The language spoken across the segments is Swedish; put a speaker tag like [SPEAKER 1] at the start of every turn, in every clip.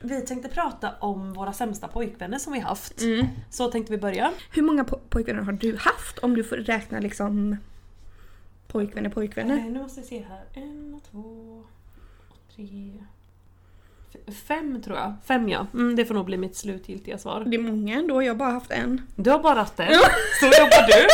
[SPEAKER 1] Vi tänkte prata om våra sämsta pojkvänner som vi haft. Så tänkte vi börja.
[SPEAKER 2] Hur många po- pojkvänner har du haft om du får räkna liksom pojkvänner pojkvänner?
[SPEAKER 1] Eh, Nu måste vi se här. En, två, tre... f- Fem tror jag. Fem ja. Mm, det får nog bli mitt slutgiltiga svar.
[SPEAKER 2] Det är många ändå, jag har bara haft en.
[SPEAKER 1] Du har bara haft en. Så jobbar du.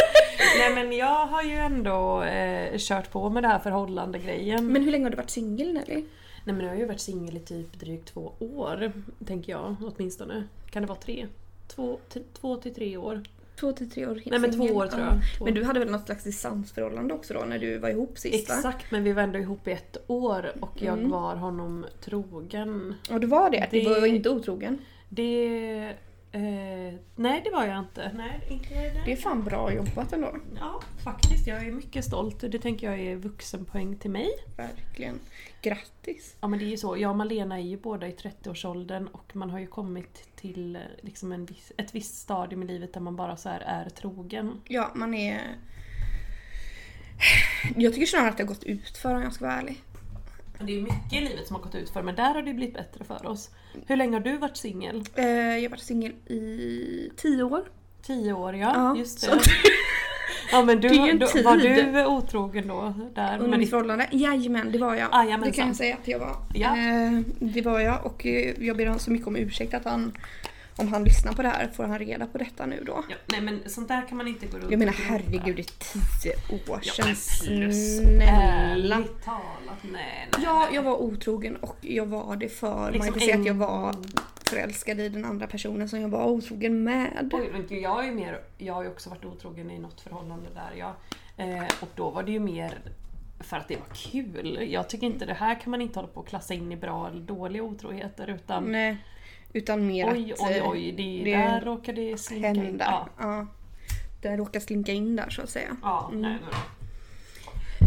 [SPEAKER 1] Nej men jag har ju ändå eh, kört på med det här förhållandegrejen.
[SPEAKER 2] Men hur länge har du varit singel Nelly?
[SPEAKER 1] Nej men jag har ju varit singel i typ drygt två år. Tänker jag åtminstone. Kan det vara tre? Två, t- två till tre år.
[SPEAKER 2] Två till tre år.
[SPEAKER 1] Nej men två
[SPEAKER 2] singel.
[SPEAKER 1] år tror
[SPEAKER 2] Ja.
[SPEAKER 1] jag. Två.
[SPEAKER 2] Men du hade väl något slags distansförhållande också då när du var ihop sist va?
[SPEAKER 1] Exakt, men vi var ändå ihop i ett år och jag var honom trogen.
[SPEAKER 2] Ja du var det,
[SPEAKER 1] Det-
[SPEAKER 2] du var inte otrogen.
[SPEAKER 1] Det... Eh, nej, det var jag inte. Nej, inte
[SPEAKER 2] Det är fan bra jobbat ändå.
[SPEAKER 1] Ja, faktiskt. Jag är mycket stolt. Det tänker jag är vuxenpoäng till mig.
[SPEAKER 2] Verkligen. Grattis.
[SPEAKER 1] Ja, men det är ju så. Jag och Malena är ju båda i 30-årsåldern och man har ju kommit till eh, liksom en viss, ett visst stadium i livet där man bara så här är trogen.
[SPEAKER 2] Ja man är... Jag tycker snarare att det har gått ut för om jag ska vara ärlig.
[SPEAKER 1] Men det är ju mycket i livet som har gått ut för men där har det ju blivit bättre för oss. Hur länge har du varit singel?
[SPEAKER 2] Eh, Jag har varit singel i tio år.
[SPEAKER 1] Tio år ja,
[SPEAKER 2] Ja,
[SPEAKER 1] just
[SPEAKER 2] så-
[SPEAKER 1] det. Ja men du,
[SPEAKER 2] Det är ju en
[SPEAKER 1] då,
[SPEAKER 2] tid.
[SPEAKER 1] var du otrogen då? Där,
[SPEAKER 2] Under
[SPEAKER 1] men,
[SPEAKER 2] mitt förhållande? Jajamän, det var jag.
[SPEAKER 1] Ah, jajamensan.
[SPEAKER 2] det kan jag säga att jag var.
[SPEAKER 1] Ja.
[SPEAKER 2] Eh, det var jag och eh, jag ber honom så mycket om ursäkt att han, om han lyssnar på det här, får han reda på detta nu då?
[SPEAKER 1] ja, nej men sånt där kan man inte gå runt
[SPEAKER 2] Jag menar
[SPEAKER 1] och
[SPEAKER 2] herregud, det är tio år
[SPEAKER 1] Ja, men
[SPEAKER 2] sedan.
[SPEAKER 1] plus,
[SPEAKER 2] Snälla.
[SPEAKER 1] ärligt talat, nej, nej.
[SPEAKER 2] Ja, jag var otrogen och jag var det för, man
[SPEAKER 1] Liksom
[SPEAKER 2] kan inte säga att jag
[SPEAKER 1] en-
[SPEAKER 2] var förälskad i den andra personen som jag var otrogen med.
[SPEAKER 1] Oj, men gud, jag, är ju mer, jag har ju också varit otrogen i något förhållande där. Jag, eh, och då var det ju mer för att det var kul. Jag tycker inte det här kan man inte hålla på och klassa in i bra eller dåliga otroheter utan
[SPEAKER 2] Nej, Eh, utan mer
[SPEAKER 1] oj,
[SPEAKER 2] att
[SPEAKER 1] oj,
[SPEAKER 2] eh,
[SPEAKER 1] oj, det,
[SPEAKER 2] det
[SPEAKER 1] där råkar det slinka in.
[SPEAKER 2] hända.
[SPEAKER 1] Ja,
[SPEAKER 2] Ja. Det råkar slinka in där så att säga.
[SPEAKER 1] ja nej,
[SPEAKER 2] Mm.
[SPEAKER 1] men.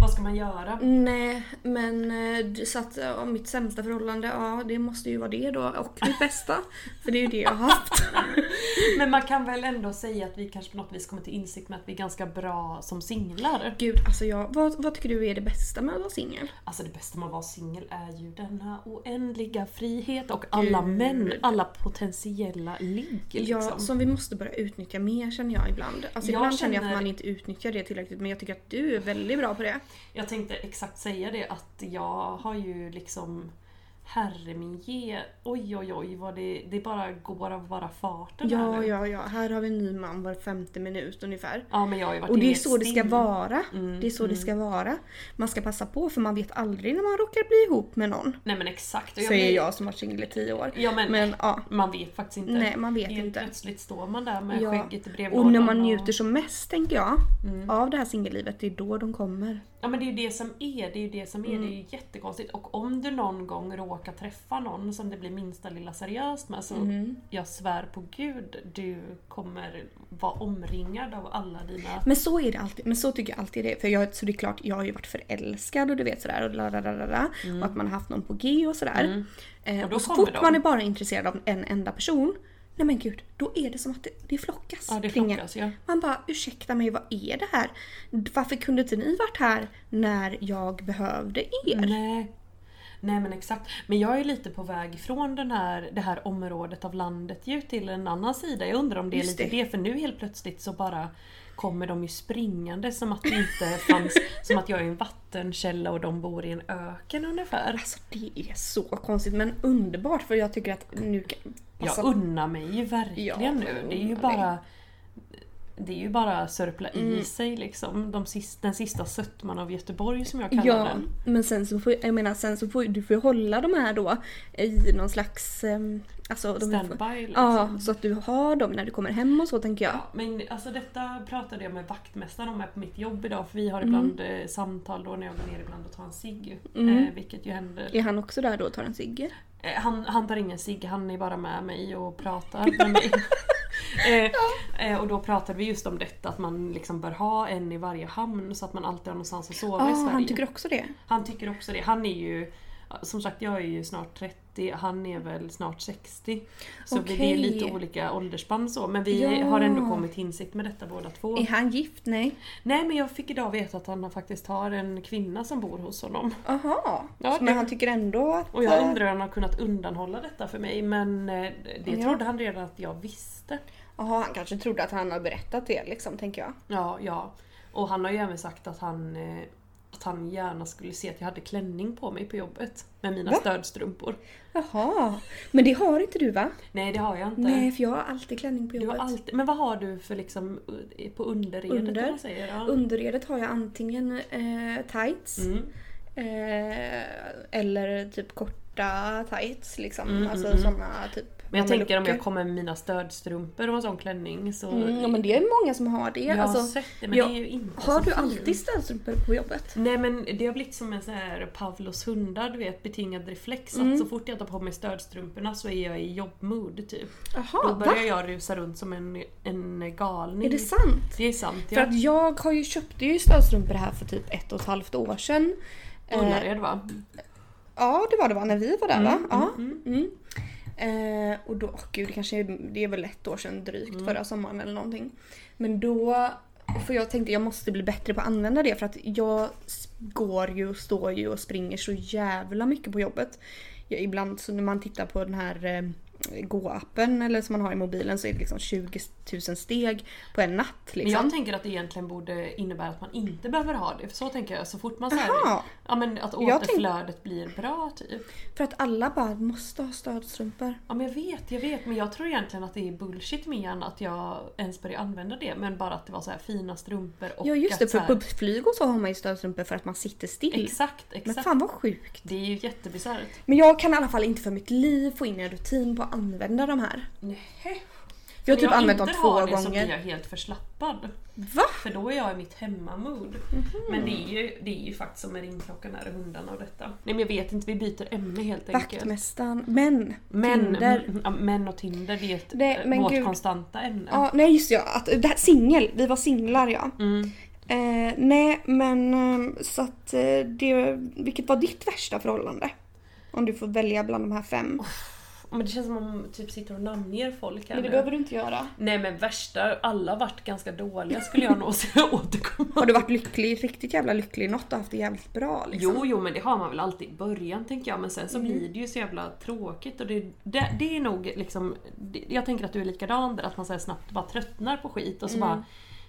[SPEAKER 1] Vad ska man göra?
[SPEAKER 2] Nej, men eh, d- så att ja, mitt sämsta förhållande, ja det måste ju vara det då. Och mitt bästa. för det är ju det jag har haft.
[SPEAKER 1] Men man kan väl ändå säga att vi kanske på något vis kommer till insikt med att vi är ganska bra som singlar.
[SPEAKER 2] Gud, alltså jag, vad, vad tycker du är det bästa med att vara singel?
[SPEAKER 1] Alltså det bästa med att vara singel är ju denna oändliga frihet och alla män, alla potentiella ligg
[SPEAKER 2] Ja,
[SPEAKER 1] liksom.
[SPEAKER 2] som vi måste börja utnyttja mer känner jag ibland. Alltså
[SPEAKER 1] Jag
[SPEAKER 2] ibland känner jag att
[SPEAKER 1] känner-
[SPEAKER 2] man inte utnyttjar det tillräckligt men jag tycker att du är väldigt bra på det.
[SPEAKER 1] Jag tänkte exakt säga det att jag har ju liksom Herre min ge, oj oj oj vad det, det bara går av bara farten här
[SPEAKER 2] Ja,
[SPEAKER 1] nu.
[SPEAKER 2] ja, ja. Här har vi en ny man var femte minut ungefär.
[SPEAKER 1] ja men jag har ju varit
[SPEAKER 2] Och det
[SPEAKER 1] inne i
[SPEAKER 2] är så det ska
[SPEAKER 1] stim.
[SPEAKER 2] vara.
[SPEAKER 1] Mm,
[SPEAKER 2] Det är så det ska vara. Man ska passa på för man vet aldrig när man råkar bli ihop med någon.
[SPEAKER 1] Nej men exakt. Och
[SPEAKER 2] Säger
[SPEAKER 1] blir-
[SPEAKER 2] jag som varit singel i tio år.
[SPEAKER 1] Ja, men-
[SPEAKER 2] men ja.
[SPEAKER 1] Man vet faktiskt inte.
[SPEAKER 2] Nej, man vet
[SPEAKER 1] Helt
[SPEAKER 2] inte.
[SPEAKER 1] Plötsligt står man där med
[SPEAKER 2] Ja.
[SPEAKER 1] skägget i brevlådan. Mm.
[SPEAKER 2] Och när man njuter som mest tänker jag av det här singellivet, det är då de kommer.
[SPEAKER 1] Ja men det är ju det som är, det är ju det som är,
[SPEAKER 2] Mm.
[SPEAKER 1] det är ju jättekonstigt. Och om du någon gång råkar träffa någon som det blir minsta lilla seriöst med så
[SPEAKER 2] Mm-hmm.
[SPEAKER 1] jag svär på gud, du kommer vara omringad av alla dina...
[SPEAKER 2] Men så är det alltid, men så tycker jag alltid det är. För jag, så det är klart, jag har ju varit förälskad och du vet sådär och la la la la la och att man har haft någon på G och sådär. Eh,
[SPEAKER 1] Mm. Och
[SPEAKER 2] och
[SPEAKER 1] då
[SPEAKER 2] så
[SPEAKER 1] kommer
[SPEAKER 2] fort
[SPEAKER 1] de.
[SPEAKER 2] man är bara intresserad av en enda person, nej men gud, då är det som att det, det flockas
[SPEAKER 1] Ja det
[SPEAKER 2] kring en.
[SPEAKER 1] flockas ja.
[SPEAKER 2] Man bara ursäkta mig, vad är det här? Varför kunde inte ni varit här när jag behövde er?
[SPEAKER 1] Nej. Nej men exakt. Men jag är lite på väg från den här, det här området av landet ju till en annan sida. Jag undrar om det är
[SPEAKER 2] Just
[SPEAKER 1] lite det.
[SPEAKER 2] det.
[SPEAKER 1] för nu helt plötsligt så bara kommer de ju springande som att det inte fanns, som att jag är en vattenkälla och de bor i en öken ungefär.
[SPEAKER 2] Alltså det är så konstigt men underbart för jag tycker att nu kan... alltså-
[SPEAKER 1] Jag
[SPEAKER 2] passa-
[SPEAKER 1] unnar mig ju verkligen
[SPEAKER 2] Ja,
[SPEAKER 1] nu. Det är ju
[SPEAKER 2] unnar dig. Mm.
[SPEAKER 1] bara... Det är ju bara att sörpla i sig liksom. De sist, den sista sötman av Göteborg som jag kallar
[SPEAKER 2] Ja,
[SPEAKER 1] den.
[SPEAKER 2] men sen så får, jag menar, sen så får ju- du får ju hålla de här då i någon slags... ehm, Alltså, de
[SPEAKER 1] Standby
[SPEAKER 2] Får,
[SPEAKER 1] liksom.
[SPEAKER 2] ja, så att du har dem när du kommer hem och så tänker jag.
[SPEAKER 1] Ja, men alltså detta pratade jag med vaktmästaren om här på mitt jobb idag för vi
[SPEAKER 2] Mm.
[SPEAKER 1] har ibland eh, samtal då när jag går ner ibland och tar en cigg.
[SPEAKER 2] Mm.
[SPEAKER 1] Eh, vilket ju händer.
[SPEAKER 2] Är han också där då och tar en cigg?
[SPEAKER 1] Eh, han, han tar ingen cigg, han är bara med mig och pratar med mig. Eh, eh, och då pratade vi just om detta att man liksom bör ha en i varje hamn så att man alltid har någonstans att sova
[SPEAKER 2] Ja,
[SPEAKER 1] i Sverige.
[SPEAKER 2] Ah, han tycker också det.
[SPEAKER 1] Han tycker också det. Han är ju, som sagt jag är ju snart 30, han är väl snart 60. Så vi det är
[SPEAKER 2] Okej.
[SPEAKER 1] lite olika åldersspann så. Men vi
[SPEAKER 2] Ja. Eh.
[SPEAKER 1] har ändå kommit till insikt med detta båda två.
[SPEAKER 2] Är han gift? Nej.
[SPEAKER 1] Nej men jag fick idag veta att han faktiskt har en kvinna som bor hos honom.
[SPEAKER 2] Aha.
[SPEAKER 1] Ja,
[SPEAKER 2] Så,
[SPEAKER 1] det-
[SPEAKER 2] men han tycker ändå att... eh,
[SPEAKER 1] Och jag undrar hur han har kunnat undanhålla detta för mig men eh, det
[SPEAKER 2] Ja.
[SPEAKER 1] trodde han redan att jag visste.
[SPEAKER 2] Jaha, han kanske trodde att han har berättat det liksom, tänker jag.
[SPEAKER 1] Ja, ja. Och han har ju även sagt att han, eh, att han gärna skulle se att jag hade klänning på mig på jobbet. Med mina
[SPEAKER 2] Va?
[SPEAKER 1] stödstrumpor.
[SPEAKER 2] Jaha. Men det har inte du va?
[SPEAKER 1] Nej det har jag inte.
[SPEAKER 2] Nej, för jag har alltid klänning på
[SPEAKER 1] Du
[SPEAKER 2] jobbet.
[SPEAKER 1] har alltid, men vad har du för liksom u- på underredet?
[SPEAKER 2] Under.
[SPEAKER 1] om man säger, ja.
[SPEAKER 2] Underredet har jag antingen eh, tights
[SPEAKER 1] Mm.
[SPEAKER 2] eh, eller typ korta tights liksom.
[SPEAKER 1] Mm,
[SPEAKER 2] alltså
[SPEAKER 1] mm, mm.
[SPEAKER 2] såna typ.
[SPEAKER 1] Men jag
[SPEAKER 2] med
[SPEAKER 1] tänker om jag
[SPEAKER 2] luckor.
[SPEAKER 1] kommer med mina stödstrumpor och en sån klänning så...
[SPEAKER 2] Mm, ja men det är många som har det.
[SPEAKER 1] jag har
[SPEAKER 2] alltså,
[SPEAKER 1] sett det men
[SPEAKER 2] jag-
[SPEAKER 1] det är ju inte
[SPEAKER 2] har
[SPEAKER 1] så
[SPEAKER 2] du
[SPEAKER 1] fint.
[SPEAKER 2] alltid stödstrumpor på jobbet?
[SPEAKER 1] Nej men det har blivit som en sån här Pavlos hundar, du vet betingad reflex
[SPEAKER 2] Mm.
[SPEAKER 1] att så fort jag tar på mig stödstrumporna så är jag i jobbmood typ.
[SPEAKER 2] Jaha,
[SPEAKER 1] Då börjar
[SPEAKER 2] Ah, va?
[SPEAKER 1] jag rusa runt som en, en galning.
[SPEAKER 2] Är det sant?
[SPEAKER 1] Det är sant.
[SPEAKER 2] För
[SPEAKER 1] Jag
[SPEAKER 2] att jag har ju köpte ju stödstrumpor här för typ ett och ett halvt år sedan. Eh,
[SPEAKER 1] Ullared va?
[SPEAKER 2] Ja, det var det va? När vi var där va? Ja. Mm. Eh, och då, åh gud det kanske är, det är väl ett år sedan drygt,
[SPEAKER 1] Mm.
[SPEAKER 2] förra sommaren eller någonting. Men då, för jag tänkte jag måste bli bättre på att använda det för att jag s- går ju, och står ju och springer så jävla mycket på jobbet. Jag, ibland så när man tittar på den här eh, Gå-appen eller som man har i mobilen så är det liksom 20 000 steg på en natt.
[SPEAKER 1] Men
[SPEAKER 2] Liksom.
[SPEAKER 1] jag tänker att det egentligen borde innebära att man inte behöver ha det. För så tänker jag så fort man säger
[SPEAKER 2] Jaha.
[SPEAKER 1] Ja men att
[SPEAKER 2] Jag tänk-
[SPEAKER 1] återflödet blir bra typ.
[SPEAKER 2] För att alla bara måste ha stödstrumpor.
[SPEAKER 1] Ja men jag vet, jag vet. Men jag tror egentligen att det är bullshit i min hjärna att jag ens börjar använda det. Men bara att det var så här fina strumpor och
[SPEAKER 2] Ja just det,
[SPEAKER 1] att så
[SPEAKER 2] för
[SPEAKER 1] här,
[SPEAKER 2] på flyg och så har man ju stödstrumpor för att man sitter still.
[SPEAKER 1] Exakt,
[SPEAKER 2] Men
[SPEAKER 1] exakt.
[SPEAKER 2] fan vad sjukt.
[SPEAKER 1] Det är ju jättebisarrt.
[SPEAKER 2] Men jag kan i alla fall inte för mitt liv få in en rutin på att använda de här.
[SPEAKER 1] Nej.
[SPEAKER 2] Jag har typ använt dem
[SPEAKER 1] inte
[SPEAKER 2] två
[SPEAKER 1] har det så blir
[SPEAKER 2] gånger.
[SPEAKER 1] jag helt förslappad.
[SPEAKER 2] Va?
[SPEAKER 1] För då är jag i mitt hemmamood.
[SPEAKER 2] Mhm.
[SPEAKER 1] Men det är, ju, det är ju faktiskt som en ringklocka nära hundarna och detta. Nej men jag vet inte, vi byter ämne helt enkelt.
[SPEAKER 2] Vaktmästaren. Men.
[SPEAKER 1] Men,
[SPEAKER 2] Tinder.
[SPEAKER 1] ja, män och Tinder det är ett, eh,
[SPEAKER 2] Nej, men
[SPEAKER 1] vårt
[SPEAKER 2] gud.
[SPEAKER 1] konstanta ämne.
[SPEAKER 2] Ja, nej just ja. Att, det här, singel. Vi var singlar ja.
[SPEAKER 1] Mm.
[SPEAKER 2] Eh, nej men eh, så att eh, det, vilket var ditt värsta förhållande? Om du får välja bland de här fem.
[SPEAKER 1] Men det känns som om man typ sitter och namnger folk här nu.
[SPEAKER 2] du inte göra.
[SPEAKER 1] Nej men värsta, alla har varit ganska dåliga skulle jag nog säga återkomma.
[SPEAKER 2] Har du varit lycklig, riktigt jävla lycklig i något och haft det jävligt bra liksom?
[SPEAKER 1] Jo, jo men det har man väl alltid i början tänker jag men sen så blir det ju så jävla tråkigt och det, det, det är nog liksom det, Jag tänker att du är likadan där att man så här snabbt bara tröttnar på skit och så bara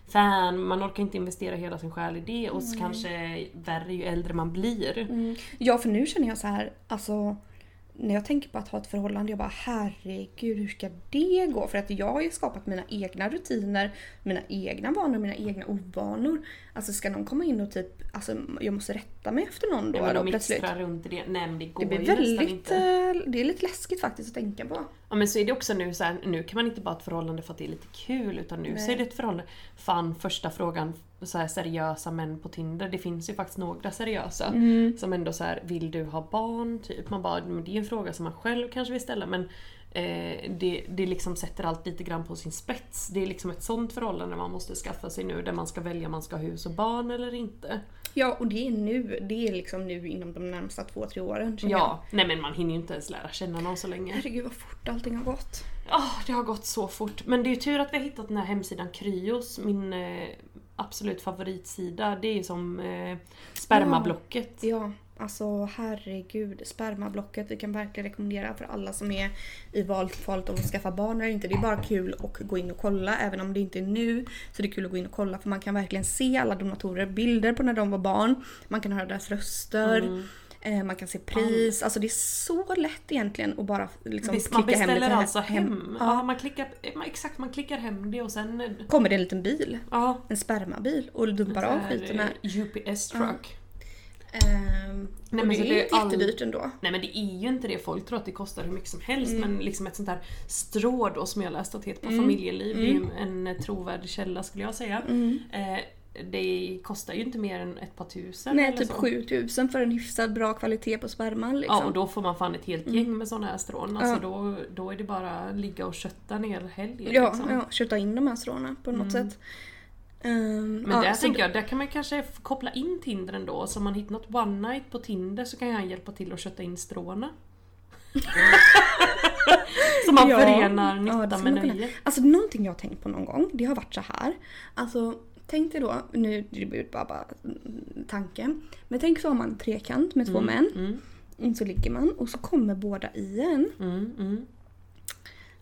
[SPEAKER 1] Fan, man orkar inte investera hela sin själ i det och så kanske värre ju äldre man blir.
[SPEAKER 2] Mm. Ja, för nu känner jag så här, alltså när jag tänker på att ha ett förhållande, jag bara herregud hur ska det gå? För att jag har ju skapat mina egna rutiner, mina egna vanor, mina egna ovanor. Alltså ska någon komma in och typ, alltså jag måste rätta mig efter någon då,
[SPEAKER 1] Ja, men
[SPEAKER 2] då
[SPEAKER 1] de
[SPEAKER 2] plötsligt.
[SPEAKER 1] mixtrar runt i det. Nej men det går
[SPEAKER 2] Det blir
[SPEAKER 1] ju nästan
[SPEAKER 2] väldigt,
[SPEAKER 1] inte.
[SPEAKER 2] eh, det är lite läskigt faktiskt att tänka på.
[SPEAKER 1] Ja men så är det också nu så här, nu kan man inte bara ha ett förhållande för att det är lite kul utan nu så är det ett förhållande. Fan första frågan, så här seriösa män på Tinder. Det finns ju faktiskt några seriösa. Som ändå så här, vill du ha barn? Typ. Man bara, men det är en fråga som man själv kanske vill ställa men eh, det, det liksom sätter allt lite grann på sin spets. Det är liksom ett sånt förhållande man måste skaffa sig nu där man ska välja om man ska ha hus och barn eller inte.
[SPEAKER 2] Ja, och det är nu, det är liksom nu inom de närmsta två, tre åren känner jag.
[SPEAKER 1] Ja, nej men man hinner ju inte ens lära känna någon så länge.
[SPEAKER 2] Herregud vad fort allting har gått.
[SPEAKER 1] Ja, det har gått så fort. Men det är ju tur att vi har hittat den här hemsidan Kryos, min eh, absolut favoritsida. Det är ju som eh, spermablocket.
[SPEAKER 2] Ja, alltså herregud. Spermablocket, vi kan verkligen rekommendera för alla som är i valfalet om att skaffa barn eller inte. Det är bara kul att gå in och kolla, även om det inte är nu. Så det är kul att gå in och kolla
[SPEAKER 1] Mm.
[SPEAKER 2] för man kan verkligen se alla donatorer, bilder på när de var barn. Man kan höra deras röster. Eh, man kan se pris, alltså det är så lätt egentligen att bara liksom,
[SPEAKER 1] Visst,
[SPEAKER 2] klicka
[SPEAKER 1] man
[SPEAKER 2] hem lite
[SPEAKER 1] beställer
[SPEAKER 2] här-
[SPEAKER 1] alltså hem. Ja.
[SPEAKER 2] Ja.
[SPEAKER 1] man klickar, eh, exakt, man klickar hem det och sen... eh,
[SPEAKER 2] Kommer det en liten bil,
[SPEAKER 1] Ja.
[SPEAKER 2] en spermabil och dumpar
[SPEAKER 1] så
[SPEAKER 2] av
[SPEAKER 1] här,
[SPEAKER 2] skiten här.
[SPEAKER 1] eh, UPS truck.
[SPEAKER 2] Ehm,
[SPEAKER 1] Nej,
[SPEAKER 2] och
[SPEAKER 1] men
[SPEAKER 2] det
[SPEAKER 1] så
[SPEAKER 2] är
[SPEAKER 1] det är
[SPEAKER 2] inte
[SPEAKER 1] all-
[SPEAKER 2] jättedyrt ändå.
[SPEAKER 1] Nej men det är ju inte det, folk tror att det kostar hur mycket som helst
[SPEAKER 2] Mm.
[SPEAKER 1] men liksom ett sånt där strå då som jag läst att heter på familjeliv, det är
[SPEAKER 2] Mm.
[SPEAKER 1] ju en trovärdig källa skulle jag säga. Eh, det kostar ju inte mer än ett par tusen
[SPEAKER 2] Nej,
[SPEAKER 1] eller
[SPEAKER 2] typ
[SPEAKER 1] så.
[SPEAKER 2] 7000 för en hyfsad bra kvalitet på sperman liksom. Mm.
[SPEAKER 1] Ja och då får man fan ett helt gäng med såna här strån. Alltså då, då är det bara ligga och kötta en hel helg.
[SPEAKER 2] ja,
[SPEAKER 1] liksom. Mm.
[SPEAKER 2] ja, köta in de här stråna på något sätt. Ehm,
[SPEAKER 1] Men där
[SPEAKER 2] så
[SPEAKER 1] tänker jag, där kan man kanske f- koppla in Tinder ändå. Så om man hittar något one night på Tinder så kan han hjälpa till att kötta in stråna. så man
[SPEAKER 2] Ja.
[SPEAKER 1] förenar
[SPEAKER 2] Ja,
[SPEAKER 1] nytta
[SPEAKER 2] det skulle
[SPEAKER 1] med
[SPEAKER 2] man kunna.
[SPEAKER 1] nöje.
[SPEAKER 2] Alltså någonting jag har tänkt på någon gång, det har varit så här. Alltså tänk dig då, nu det blir bara, bara mm, tanken. Men tänk så har man en trekant med två män.
[SPEAKER 1] Mm,
[SPEAKER 2] Mm, Så ligger man och så kommer båda i en.
[SPEAKER 1] mm, mm.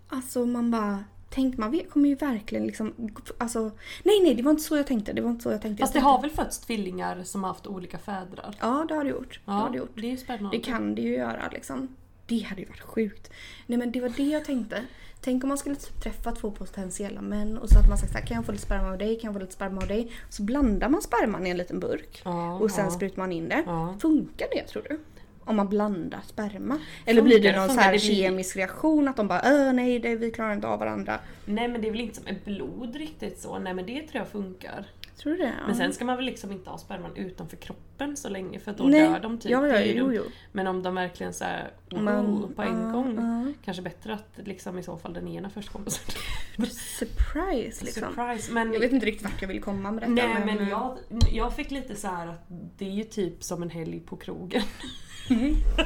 [SPEAKER 2] Alltså man bara Tänk man vet- kommer ju verkligen liksom alltså, Nej nej det var inte så jag tänkte. Det var inte så jag tänkte.
[SPEAKER 1] Fast det
[SPEAKER 2] jag
[SPEAKER 1] har
[SPEAKER 2] tänkte-
[SPEAKER 1] väl fötts tvillingar som har haft olika fädrar?
[SPEAKER 2] Ja det har det gjort. det, har det, gjort.
[SPEAKER 1] det är ju spännande.
[SPEAKER 2] det kan det ju göra liksom. Det hade ju varit sjukt. Nej men det var det jag tänkte. Tänk om man skulle typ träffa två potentiella män och så att man sagt så här, kan jag få lite sperma av dig, kan jag få lite sperma av dig. Så blandar man sperman i en liten burk
[SPEAKER 1] Ja,
[SPEAKER 2] och sen
[SPEAKER 1] ja.
[SPEAKER 2] sprutar man in det.
[SPEAKER 1] Ja.
[SPEAKER 2] Funkar det tror du? Om man blandar sperma? Eller blir det
[SPEAKER 1] Funkar,
[SPEAKER 2] någon så
[SPEAKER 1] funkar.
[SPEAKER 2] här
[SPEAKER 1] Det blir-
[SPEAKER 2] kemisk reaktion att de bara öh nej det, vi klarar inte av varandra.
[SPEAKER 1] Nej men det är väl inte som ett blod riktigt så. Nej men det tror jag funkar.
[SPEAKER 2] Tror du det? Ja.
[SPEAKER 1] Men sen ska man väl liksom inte ha sperman utanför kroppen så länge för då
[SPEAKER 2] Nej.
[SPEAKER 1] dör de typ.
[SPEAKER 2] Ja, ja,
[SPEAKER 1] Det är ju
[SPEAKER 2] jo,
[SPEAKER 1] dumt.
[SPEAKER 2] jo.
[SPEAKER 1] Men om de verkligen såhär oh,
[SPEAKER 2] Man-
[SPEAKER 1] på en
[SPEAKER 2] ja,
[SPEAKER 1] gång.
[SPEAKER 2] ja.
[SPEAKER 1] Kanske bättre att liksom i så fall den ena först kommer. sen-
[SPEAKER 2] Surprise liksom.
[SPEAKER 1] Surprise! Men,
[SPEAKER 2] Jag vet inte riktigt vart jag vill komma med detta.
[SPEAKER 1] nej, men jag, jag fick lite så här att det är ju typ som en helg på krogen.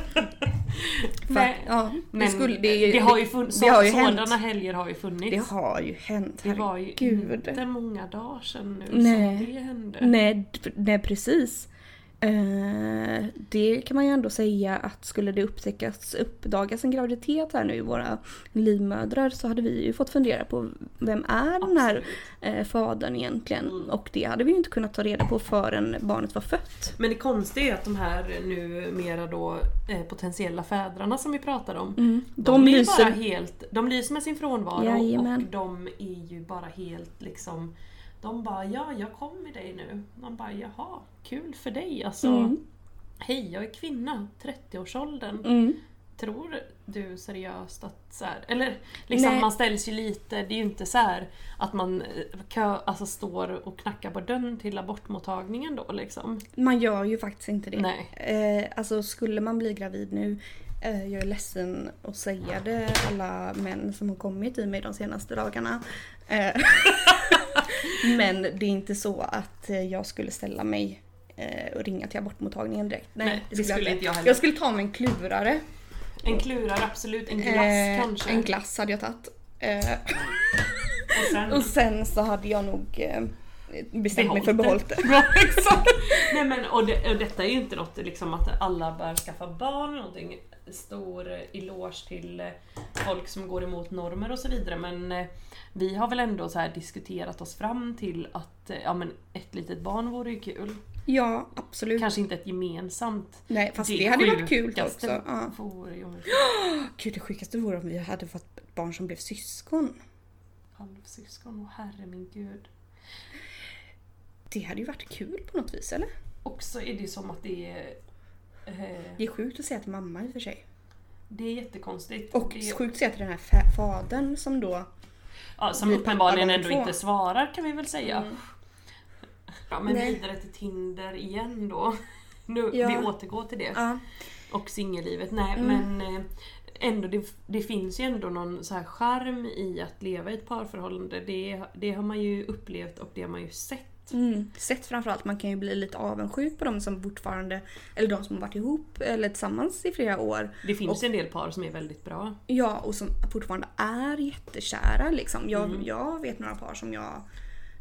[SPEAKER 2] För,
[SPEAKER 1] Nej.
[SPEAKER 2] Mm. ja,
[SPEAKER 1] Men
[SPEAKER 2] det, skulle, det, är ju-
[SPEAKER 1] har ju funnits,
[SPEAKER 2] det har ju
[SPEAKER 1] sådana
[SPEAKER 2] hänt.
[SPEAKER 1] helger har ju funnits.
[SPEAKER 2] Det har ju hänt,
[SPEAKER 1] Det var ju
[SPEAKER 2] herregud.
[SPEAKER 1] inte många dagar sedan nu
[SPEAKER 2] Nej.
[SPEAKER 1] som det hände.
[SPEAKER 2] Nej, d- nej precis. Eh, det kan man ju ändå säga att skulle det upptäckas, uppdagas en graviditet här nu i våra livmödrar så hade vi ju fått fundera på vem är den här eh, fadern egentligen?
[SPEAKER 1] Mm.
[SPEAKER 2] Och det hade vi ju inte kunnat ta reda på förrän barnet var fött.
[SPEAKER 1] Men det konstiga är ju att de här numera då eh, potentiella fädrarna som vi pratade om.
[SPEAKER 2] Mm. De
[SPEAKER 1] De, är ju
[SPEAKER 2] lyser-
[SPEAKER 1] bara helt, de lyser med sin frånvaro
[SPEAKER 2] Jajamän.
[SPEAKER 1] och de är ju bara helt liksom De bara ja, jag kom med dig nu. De bara jaha, kul för dig alltså.
[SPEAKER 2] Mm.
[SPEAKER 1] Hej, jag är kvinna, 30-årsåldern.
[SPEAKER 2] Mm.
[SPEAKER 1] Tror du seriöst att så här, Eller liksom
[SPEAKER 2] Nej.
[SPEAKER 1] man ställs ju lite, det är ju inte så här att man eh, kö, alltså, står och knackar på dörren till abortmottagningen då liksom.
[SPEAKER 2] Man gör ju faktiskt inte det.
[SPEAKER 1] Nej.
[SPEAKER 2] Eh, alltså skulle man bli gravid nu, eh, jag är ledsen att säga det, alla män som har kommit i mig de senaste dagarna. Eh, men det är inte så att eh, jag skulle ställa mig eh, och ringa till abortmottagningen direkt.
[SPEAKER 1] Nej, det skulle inte jag heller.
[SPEAKER 2] Jag skulle ta mig en klurare.
[SPEAKER 1] En klurare absolut, en glass
[SPEAKER 2] Eh,
[SPEAKER 1] kanske. Mm.
[SPEAKER 2] En glass hade jag tagit. Eh,
[SPEAKER 1] och sen,
[SPEAKER 2] och sen så hade jag nog eh, bestämt mig för
[SPEAKER 1] Behållt
[SPEAKER 2] behållt
[SPEAKER 1] det.
[SPEAKER 2] det.
[SPEAKER 1] Ja, exakt. Nej, men, och, det, och detta är ju inte något liksom, att alla bör skaffa barn eller någonting. Stor eh, eloge till eh, folk som går emot normer och så vidare men eh, vi har väl ändå så här diskuterat oss fram till att eh, ja, men ett litet barn vore ju kul.
[SPEAKER 2] Ja, absolut.
[SPEAKER 1] Kanske inte ett gemensamt.
[SPEAKER 2] Nej, fast det, hade ju varit kul
[SPEAKER 1] sjukaste
[SPEAKER 2] också. Ja.
[SPEAKER 1] Vore ju om vi
[SPEAKER 2] Gud det sjukaste vore om vi hade fått ett barn som blev syskon.
[SPEAKER 1] halvsyskon, och herre min gud.
[SPEAKER 2] Det hade ju varit kul på något vis eller?
[SPEAKER 1] Och så är det ju som att det är eh,
[SPEAKER 2] Det är sjukt att säga till mamma i och för sig.
[SPEAKER 1] Det är jättekonstigt.
[SPEAKER 2] Och
[SPEAKER 1] det,
[SPEAKER 2] sjukt att säga till den här fa- fadern som då...
[SPEAKER 1] ja, som
[SPEAKER 2] blir pappa
[SPEAKER 1] uppenbarligen
[SPEAKER 2] gånger
[SPEAKER 1] ändå
[SPEAKER 2] två. Mm.
[SPEAKER 1] inte svarar kan vi väl säga. Ja, men
[SPEAKER 2] Nej.
[SPEAKER 1] vidare till Tinder igen då. Nu,
[SPEAKER 2] Ja.
[SPEAKER 1] Vi återgår till det.
[SPEAKER 2] Ja. Mm.
[SPEAKER 1] Och singellivet. Nej men eh, ändå det, det finns ju ändå någon så här charm i att leva i ett parförhållande. Det, det har man ju upplevt och det har man ju sett.
[SPEAKER 2] Mm. Sett framförallt, man kan ju bli lite avundsjuk på de som fortfarande, eller de som har varit ihop eh, eller tillsammans i flera år.
[SPEAKER 1] Det finns ju en del par som är väldigt bra.
[SPEAKER 2] Ja, och som fortfarande är jättekära liksom. Jag, jag vet några par som jag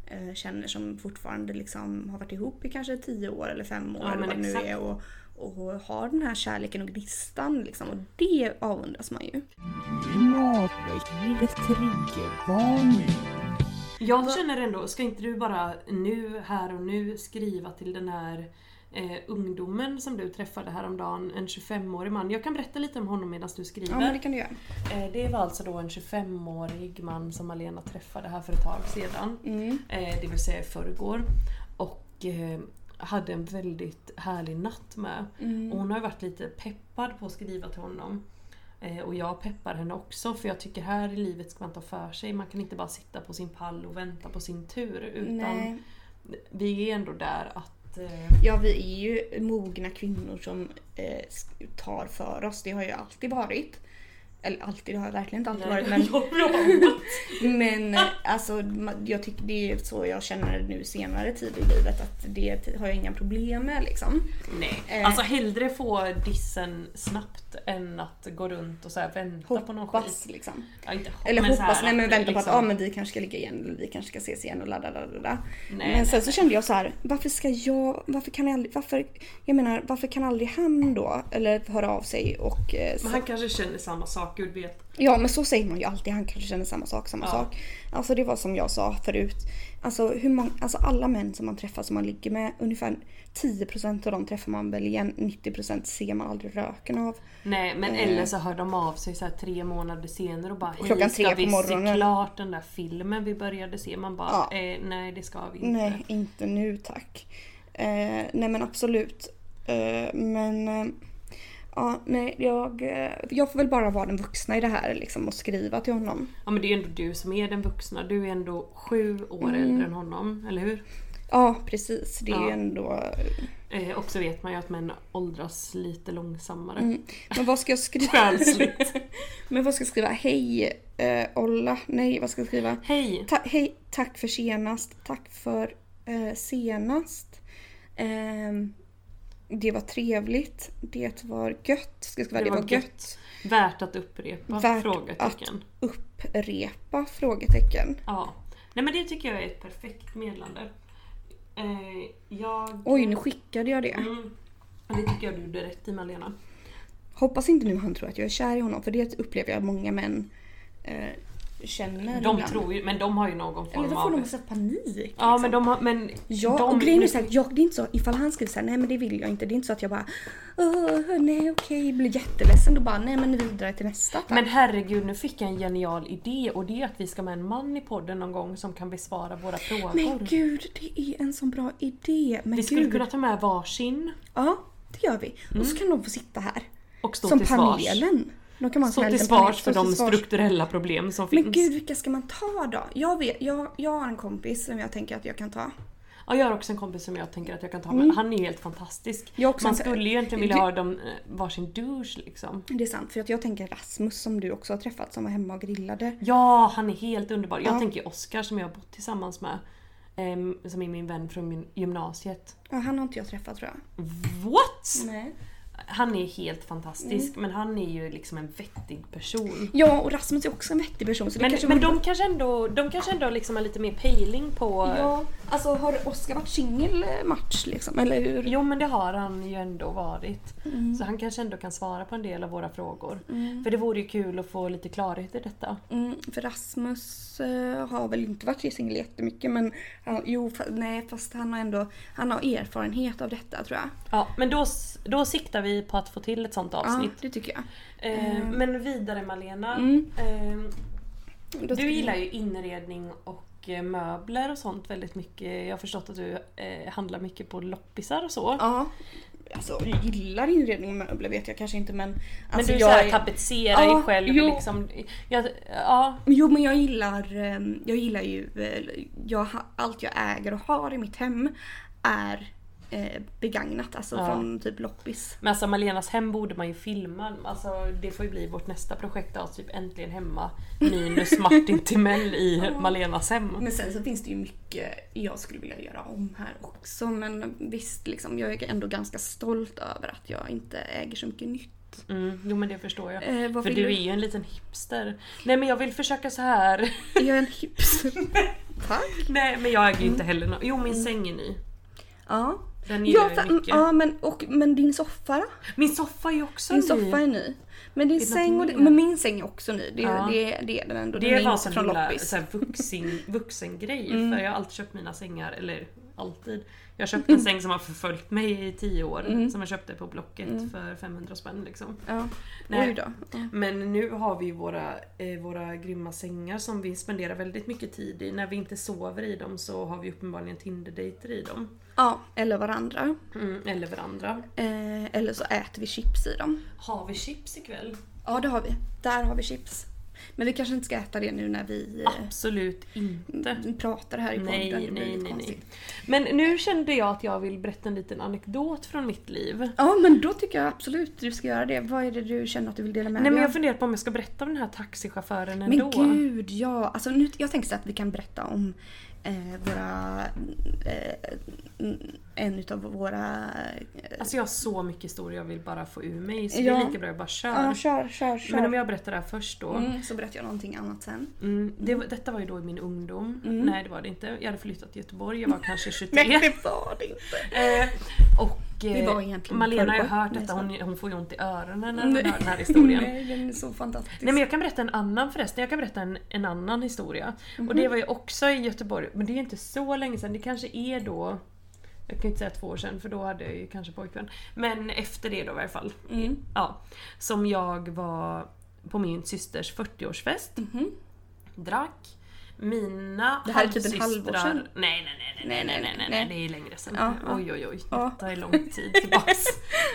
[SPEAKER 2] eh, känner som fortfarande liksom har varit ihop i kanske 10 år eller 5 år
[SPEAKER 1] Ja,
[SPEAKER 2] eller
[SPEAKER 1] men
[SPEAKER 2] vad det nu
[SPEAKER 1] exakt.
[SPEAKER 2] är och, och har den här kärleken och gnistan liksom och det avundas man ju.
[SPEAKER 3] Matlivets triggervarning.
[SPEAKER 1] Jag känner ändå, ska inte du bara nu, här och nu skriva till den här eh, ungdomen som du träffade häromdagen, en 25-årig man. Jag kan berätta lite om honom medan du skriver.
[SPEAKER 2] Ja men det kan du göra.
[SPEAKER 1] Eh, Det var alltså då en 25-årig man som Alena träffade här för ett tag sedan.
[SPEAKER 2] Mm.
[SPEAKER 1] Eh, Det vill säga i förrgår. Och eh, hade en väldigt härlig natt med.
[SPEAKER 2] Mm.
[SPEAKER 1] Och hon har ju varit lite peppad på att skriva till honom. Eh, Och jag peppar henne också för jag tycker här i livet ska man ta för sig. Man kan inte bara sitta på sin pall och vänta på sin tur. Utan
[SPEAKER 2] Nej.
[SPEAKER 1] vi är ändå där att... eh,
[SPEAKER 2] Ja vi är ju mogna kvinnor som eh, sk- tar för oss. Det har ju alltid varit. Eller alltid, det har verkligen inte alltid varit men Men eh, alltså, ma- jag tycker det är så jag känner nu senare tid i livet att det har jag inga problem med liksom.
[SPEAKER 1] Nej.
[SPEAKER 2] Eh.
[SPEAKER 1] Alltså hellre få dissen snabbt än att gå runt och så här vänta på någon skit.
[SPEAKER 2] Hoppas liksom.
[SPEAKER 1] Ja, inte hoppas,
[SPEAKER 2] Eller
[SPEAKER 1] men så här
[SPEAKER 2] hoppas, nej
[SPEAKER 1] att
[SPEAKER 2] men
[SPEAKER 1] det
[SPEAKER 2] vänta på att
[SPEAKER 1] liksom-
[SPEAKER 2] ah, men vi kanske ska ligga igen eller vi kanske ska ses igen och ladda ladda ladda.
[SPEAKER 1] Nej,
[SPEAKER 2] Men sen så kände jag så här, varför ska jag, varför kan jag aldrig, varför, jag menar varför kan aldrig han då, eller höra av sig och eh,
[SPEAKER 1] Men han kanske känner samma sak, gud vet.
[SPEAKER 2] Ja men så säger man ju alltid, han kanske känner samma sak, samma
[SPEAKER 1] Ja.
[SPEAKER 2] sak. Alltså det var som jag sa förut. Alltså, hur många, alltså alla män som man träffar som man ligger med, ungefär 10% av dem träffar man väl igen, 90% ser man aldrig röken av.
[SPEAKER 1] Nej men
[SPEAKER 2] Eh.
[SPEAKER 1] eller så hör de av sig så här tre månader senare och bara Hej,
[SPEAKER 2] Klockan
[SPEAKER 1] ska
[SPEAKER 2] tre på
[SPEAKER 1] vi se
[SPEAKER 2] morgonen."
[SPEAKER 1] klart den där filmen vi började se? Man bara
[SPEAKER 2] Ja.
[SPEAKER 1] eh, nej det ska vi inte.
[SPEAKER 2] Nej, inte nu tack. Eh, nej men absolut. Eh, men eh, ja, nej, jag, eh, jag får väl bara vara den vuxna i det här liksom, och skriva till honom.
[SPEAKER 1] Ja men det är ju ändå du som är den vuxna, du är ändå sju år
[SPEAKER 2] Mm.
[SPEAKER 1] äldre än honom, eller hur?
[SPEAKER 2] Ja precis, det är ju
[SPEAKER 1] Ja.
[SPEAKER 2] ändå...
[SPEAKER 1] Eh, och så vet man ju att män åldras lite långsammare.
[SPEAKER 2] Mm. Men vad ska jag skriva?
[SPEAKER 1] Själsligt.
[SPEAKER 2] Men vad ska jag skriva? Hej, eh, Olla. Nej, vad ska jag skriva?
[SPEAKER 1] Hej!
[SPEAKER 2] Ta- hej, tack för senast. Tack för eh, senast. Ehm, det var trevligt. Det var gött. Ska jag skriva det, var, gött.
[SPEAKER 1] Värt att upprepa?
[SPEAKER 2] Värt
[SPEAKER 1] frågetecken.
[SPEAKER 2] Upprepa? Frågetecken.
[SPEAKER 1] Ja. Nej men det tycker jag är ett perfekt meddelande. Eh, jag...
[SPEAKER 2] Oj, nu skickade jag det.
[SPEAKER 1] Mm. Och Det tycker jag du är rätt i Malena.
[SPEAKER 2] Hoppas inte nu han tror att jag är kär i honom för det upplever jag många män eh, känner
[SPEAKER 1] De
[SPEAKER 2] ibland.
[SPEAKER 1] tror ju, men de har ju någon form
[SPEAKER 2] Eller då får
[SPEAKER 1] av...
[SPEAKER 2] de massa panik.
[SPEAKER 1] ja
[SPEAKER 2] liksom.
[SPEAKER 1] men de har, men...
[SPEAKER 2] Ja,
[SPEAKER 1] de,
[SPEAKER 2] och grejen är såhär, jag, det är inte så ifall han skriver såhär, nej men det vill jag inte. Det är inte så att jag bara, "Åh, nej okej, blir jätteledsen. Då bara, nej men vidare till nästa. tack."
[SPEAKER 1] Men herregud, nu fick jag en genial idé och det är att vi ska med en man i podden någon gång som kan besvara våra frågor.
[SPEAKER 2] men gud, det är en sån bra idé. Men
[SPEAKER 1] vi skulle
[SPEAKER 2] gud.
[SPEAKER 1] kunna ta med varsin
[SPEAKER 2] Ja, det gör vi. Och så kan de få sitta här.
[SPEAKER 1] och stå
[SPEAKER 2] som
[SPEAKER 1] till svars.
[SPEAKER 2] panelen. De kan man
[SPEAKER 1] Stå till svars för de strukturella problem som
[SPEAKER 2] Men
[SPEAKER 1] finns.
[SPEAKER 2] gud, vilka ska man ta då? Jag, vet, jag, jag har en kompis som jag tänker att jag kan ta.
[SPEAKER 1] Ja, jag har också en kompis som jag tänker att jag kan ta med. Han är ju helt fantastisk.
[SPEAKER 2] Mm. Jag har också
[SPEAKER 1] Man
[SPEAKER 2] en-
[SPEAKER 1] skulle ju egentligen vilja
[SPEAKER 2] Du-
[SPEAKER 1] ha dem eh, varsin douche liksom.
[SPEAKER 2] Det är sant, för att jag tänker Rasmus som du också har träffat som var hemma och grillade.
[SPEAKER 1] Ja, han är helt underbar. Jag
[SPEAKER 2] Ja.
[SPEAKER 1] tänker Oskar som jag har bott tillsammans med. em, som är min vän från gym- gymnasiet.
[SPEAKER 2] Ja, han har inte jag träffat tror jag.
[SPEAKER 1] What?
[SPEAKER 2] Nej.
[SPEAKER 1] Han är helt fantastisk
[SPEAKER 2] Mm.
[SPEAKER 1] men han är ju liksom en vettig person.
[SPEAKER 2] Ja, och Rasmus är också en vettig person. Så det
[SPEAKER 1] Men,
[SPEAKER 2] kanske
[SPEAKER 1] men
[SPEAKER 2] vore-
[SPEAKER 1] de kanske ändå, de kanske ändå liksom har lite mer pejling på...
[SPEAKER 2] Ja, alltså har Oskar varit singelmatch liksom? Eller hur?
[SPEAKER 1] Jo men det har han ju ändå varit.
[SPEAKER 2] Mm.
[SPEAKER 1] Så han kanske ändå kan svara på en del av våra frågor. För det vore ju kul att få lite klarhet i detta.
[SPEAKER 2] Mm, för Rasmus eh, har väl inte varit singel jättemycket men han, jo, fa, nej fast han har ändå han har erfarenhet av detta tror jag.
[SPEAKER 1] Ja, men då, s- då siktar vi på att få till ett sånt
[SPEAKER 2] Ja,
[SPEAKER 1] avsnitt.
[SPEAKER 2] det tycker jag.
[SPEAKER 1] Eh, men vidare Malena.
[SPEAKER 2] Mm.
[SPEAKER 1] Eh,
[SPEAKER 2] Då ska
[SPEAKER 1] du
[SPEAKER 2] vi-
[SPEAKER 1] gillar ju inredning och eh, möbler och sånt väldigt mycket. Jag har förstått att du eh, handlar mycket på loppisar och så.
[SPEAKER 2] Ja. Alltså jag gillar inredning och möbler vet jag kanske inte men...
[SPEAKER 1] men
[SPEAKER 2] alltså,
[SPEAKER 1] du
[SPEAKER 2] jag
[SPEAKER 1] så här,
[SPEAKER 2] är-
[SPEAKER 1] tapetserar
[SPEAKER 2] Ja,
[SPEAKER 1] ju själv
[SPEAKER 2] jo.
[SPEAKER 1] liksom. Ja, ja,
[SPEAKER 2] Jo men jag gillar, ehm, jag gillar ju, eh, jag, ha- allt jag äger och har i mitt hem är eh, begagnat, alltså
[SPEAKER 1] Ja.
[SPEAKER 2] från typ loppis.
[SPEAKER 1] Men alltså Malenas hem borde man ju filma. Alltså, det får ju bli vårt nästa projekt. Alltså, typ Äntligen hemma minus Martin Timell i Malenas hem.
[SPEAKER 2] Men sen så finns det ju mycket jag skulle vilja göra om här också. Men visst, liksom, jag är ändå ganska stolt över att jag inte äger så mycket nytt.
[SPEAKER 1] Mm, jo men det förstår jag.
[SPEAKER 2] Eh, vad
[SPEAKER 1] För du
[SPEAKER 2] vill du?
[SPEAKER 1] är ju en liten hipster. Nej men jag vill försöka så här.
[SPEAKER 2] Är jag en hipster? Tack!
[SPEAKER 1] Nej men jag äger ju inte heller nå- Jo min säng är ny.
[SPEAKER 2] Ja.
[SPEAKER 1] Den gillar
[SPEAKER 2] Mm. Ja,
[SPEAKER 1] jag ju
[SPEAKER 2] fa-
[SPEAKER 1] mycket.
[SPEAKER 2] ja men, och, men din soffa då?
[SPEAKER 1] Min soffa är ju också
[SPEAKER 2] Din
[SPEAKER 1] ny.
[SPEAKER 2] soffa är ny. Men din
[SPEAKER 1] det något
[SPEAKER 2] säng och
[SPEAKER 1] mer?
[SPEAKER 2] din, men min säng är också ny. Det,
[SPEAKER 1] Ja.
[SPEAKER 2] det, det är den ändå. Den
[SPEAKER 1] Det
[SPEAKER 2] är
[SPEAKER 1] var
[SPEAKER 2] inte
[SPEAKER 1] en
[SPEAKER 2] från
[SPEAKER 1] himla
[SPEAKER 2] loppis. Mm.
[SPEAKER 1] så här, vuxen, vuxengrej för jag har alltid köpt mina sängar, eller alltid. Jag köpte en säng som har förföljt mig i tio år.
[SPEAKER 2] Mm.
[SPEAKER 1] Som jag köpte på Blocket
[SPEAKER 2] Mm.
[SPEAKER 1] för 500 spänn liksom.
[SPEAKER 2] Ja.
[SPEAKER 1] Nej.
[SPEAKER 2] Oj då. Ja.
[SPEAKER 1] Men nu har vi ju våra, eh, våra grymma sängar som vi spenderar väldigt mycket tid i. När vi inte sover i dem så har vi uppenbarligen Tinder-dejter i dem.
[SPEAKER 2] ja, eller varandra.
[SPEAKER 1] Mm, eller varandra.
[SPEAKER 2] Eh, eller så äter vi chips i dem.
[SPEAKER 1] Har vi chips ikväll?
[SPEAKER 2] Ja, det har vi. Där har vi chips. Men vi kanske inte ska äta det nu när vi eh,
[SPEAKER 1] Absolut inte.
[SPEAKER 2] pratar här i podden.
[SPEAKER 1] Nej,
[SPEAKER 2] det blir
[SPEAKER 1] nej,
[SPEAKER 2] lite
[SPEAKER 1] nej,
[SPEAKER 2] konstigt.
[SPEAKER 1] nej. Men nu kände jag att jag vill berätta en liten anekdot från mitt liv.
[SPEAKER 2] Ja, men då tycker jag absolut du ska göra det. Vad är det du känner att du vill dela med
[SPEAKER 1] Nej men
[SPEAKER 2] dig
[SPEAKER 1] jag
[SPEAKER 2] av?
[SPEAKER 1] funderar på om jag ska berätta om den här taxichauffören
[SPEAKER 2] Men
[SPEAKER 1] ändå.
[SPEAKER 2] gud, ja. Alltså, nu, jag tänkte så att vi kan berätta om eh, våra... Eh, en utav våra... Eh,
[SPEAKER 1] Alltså jag har så mycket historia jag vill bara få ur mig så det
[SPEAKER 2] Ja.
[SPEAKER 1] är lika bra jag bara kör.
[SPEAKER 2] ja, kör, kör, kör.
[SPEAKER 1] men om jag berättar det här först då.
[SPEAKER 2] mm, så berättar jag någonting annat sen.
[SPEAKER 1] Mm, det, var- detta var ju då i min ungdom.
[SPEAKER 2] Mm.
[SPEAKER 1] Nej det var det inte. Jag hade flyttat till Göteborg, jag var kanske 23.
[SPEAKER 2] Men det var det inte.
[SPEAKER 1] Eh, och eh,
[SPEAKER 2] Det var egentligen
[SPEAKER 1] Malena har ju
[SPEAKER 2] förrgår.
[SPEAKER 1] hört
[SPEAKER 2] Nej,
[SPEAKER 1] detta,
[SPEAKER 2] så.
[SPEAKER 1] hon, hon får ju ont i öronen när hon hör den här historien.
[SPEAKER 2] Nej, den är så fantastisk.
[SPEAKER 1] Nej men jag kan berätta en annan förresten, jag kan berätta en, en annan historia. Och
[SPEAKER 2] Mhm.
[SPEAKER 1] det var ju också i Göteborg, men det är ju inte så länge sedan, det kanske är då jag kan ju inte säga två år sedan för då hade jag ju kanske pojkvän. Men efter det då i varje fall.
[SPEAKER 2] Mm.
[SPEAKER 1] Ja, som jag var på min systers 40-årsfest. Drack. Mina
[SPEAKER 2] Mhm. Det här är typ ett halvår
[SPEAKER 1] halvsystrar-
[SPEAKER 2] sedan.
[SPEAKER 1] Nej nej nej, nej, nej, nej, nej, nej, nej, det är längre sedan.
[SPEAKER 2] Ja, ja.
[SPEAKER 1] Oj, oj, oj.
[SPEAKER 2] Ja.
[SPEAKER 1] Detta är lång tid tillbaks.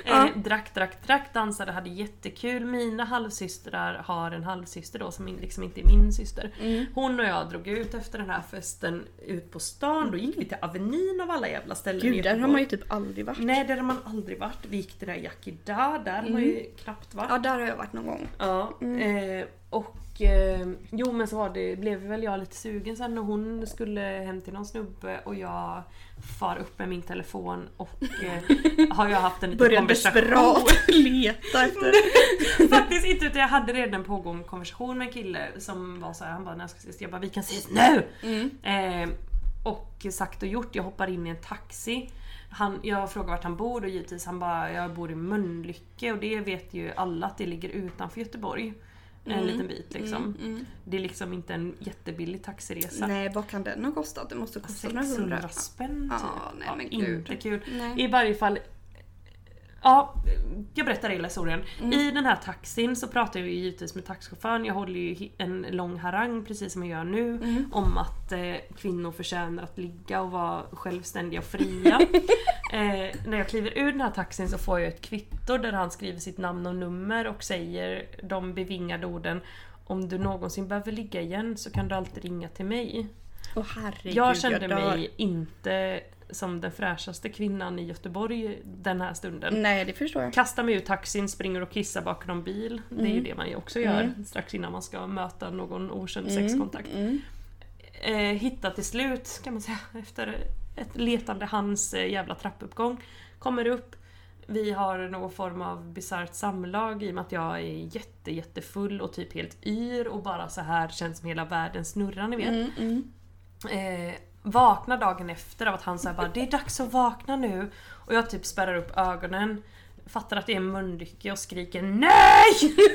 [SPEAKER 2] Ja.
[SPEAKER 1] eh, drack, drack, drack, dansade, hade jättekul. Mina halvsystrar har en halvsyster då som in- liksom inte är min syster.
[SPEAKER 2] Mm.
[SPEAKER 1] Hon och jag drog ut efter den här festen ut på stan. Då gick vi till Avenyn av alla jävla ställen i
[SPEAKER 2] Gud, där har
[SPEAKER 1] Göteborg.
[SPEAKER 2] man ju typ aldrig varit.
[SPEAKER 1] Nej, där har man aldrig varit. Vi gick till det där Yakida, där har ju knappt varit.
[SPEAKER 2] Mm. Ja, där har jag varit någon gång.
[SPEAKER 1] Ja, eh, och eh, jo men så var det, blev väl jag lite sugen sen när hon skulle hem till någon snubbe och jag far upp med min telefon och eh, har jag haft en liten
[SPEAKER 2] Började
[SPEAKER 1] konversation.
[SPEAKER 2] desperat leta efter...
[SPEAKER 1] Faktiskt inte utan jag hade redan pågående konversation med en kille som var så här, han bara när ska vi ses? Jag bara vi kan ses nu! Eh, och sagt och gjort, jag hoppar in i en taxi. Han, jag frågar vart han bor och givetvis han bara jag bor i Mölnlycke och det vet ju alla att det ligger utanför Göteborg. En liten bit liksom. Det är liksom inte en jättebillig taxiresa.
[SPEAKER 2] Nej, vad kan den ha kostat? Det måste ha kostat några
[SPEAKER 1] 600
[SPEAKER 2] hundra.
[SPEAKER 1] Alltså, spänn
[SPEAKER 2] Ja,
[SPEAKER 1] typ.
[SPEAKER 2] nej, men
[SPEAKER 1] inte
[SPEAKER 2] gud.
[SPEAKER 1] kul.
[SPEAKER 2] Nej.
[SPEAKER 1] I varje fall Ja, jag berättar hela historien.
[SPEAKER 2] Mm.
[SPEAKER 1] I den här taxin så pratar jag ju givetvis med taxichauffören. Jag håller ju hi- en lång harang precis som jag gör nu
[SPEAKER 2] Mm.
[SPEAKER 1] om att eh, kvinnor förtjänar att ligga och vara självständiga och fria. eh, när jag kliver ur den här taxin så får jag ett kvitto där han skriver sitt namn och nummer och säger de bevingade orden om du någonsin behöver ligga igen så kan du alltid ringa till mig.
[SPEAKER 2] Åh herregud,
[SPEAKER 1] Jag kände
[SPEAKER 2] dör.
[SPEAKER 1] mig inte som den fräschaste kvinnan i Göteborg den här stunden.
[SPEAKER 2] Nej, det förstår jag.
[SPEAKER 1] Kastar mig ur taxin, springer och kissar bakom någon bil. Det är ju det man ju också gör strax innan man ska möta någon okänd
[SPEAKER 2] Mm.
[SPEAKER 1] sexkontakt. Eh, hittar till slut, kan man säga, efter ett letande hans eh, jävla trappuppgång. Kommer upp, vi har någon form av bisarrt samlag i och med att jag är jätte, jättefull och typ helt yr och bara så här känns som hela världen snurrar ni vet.
[SPEAKER 2] mm,
[SPEAKER 1] Eh, vaknar dagen efter av att han säger bara det är dags att vakna nu. Och jag typ spärrar upp ögonen, fattar att det är Mölnlycke och skriker NEJ!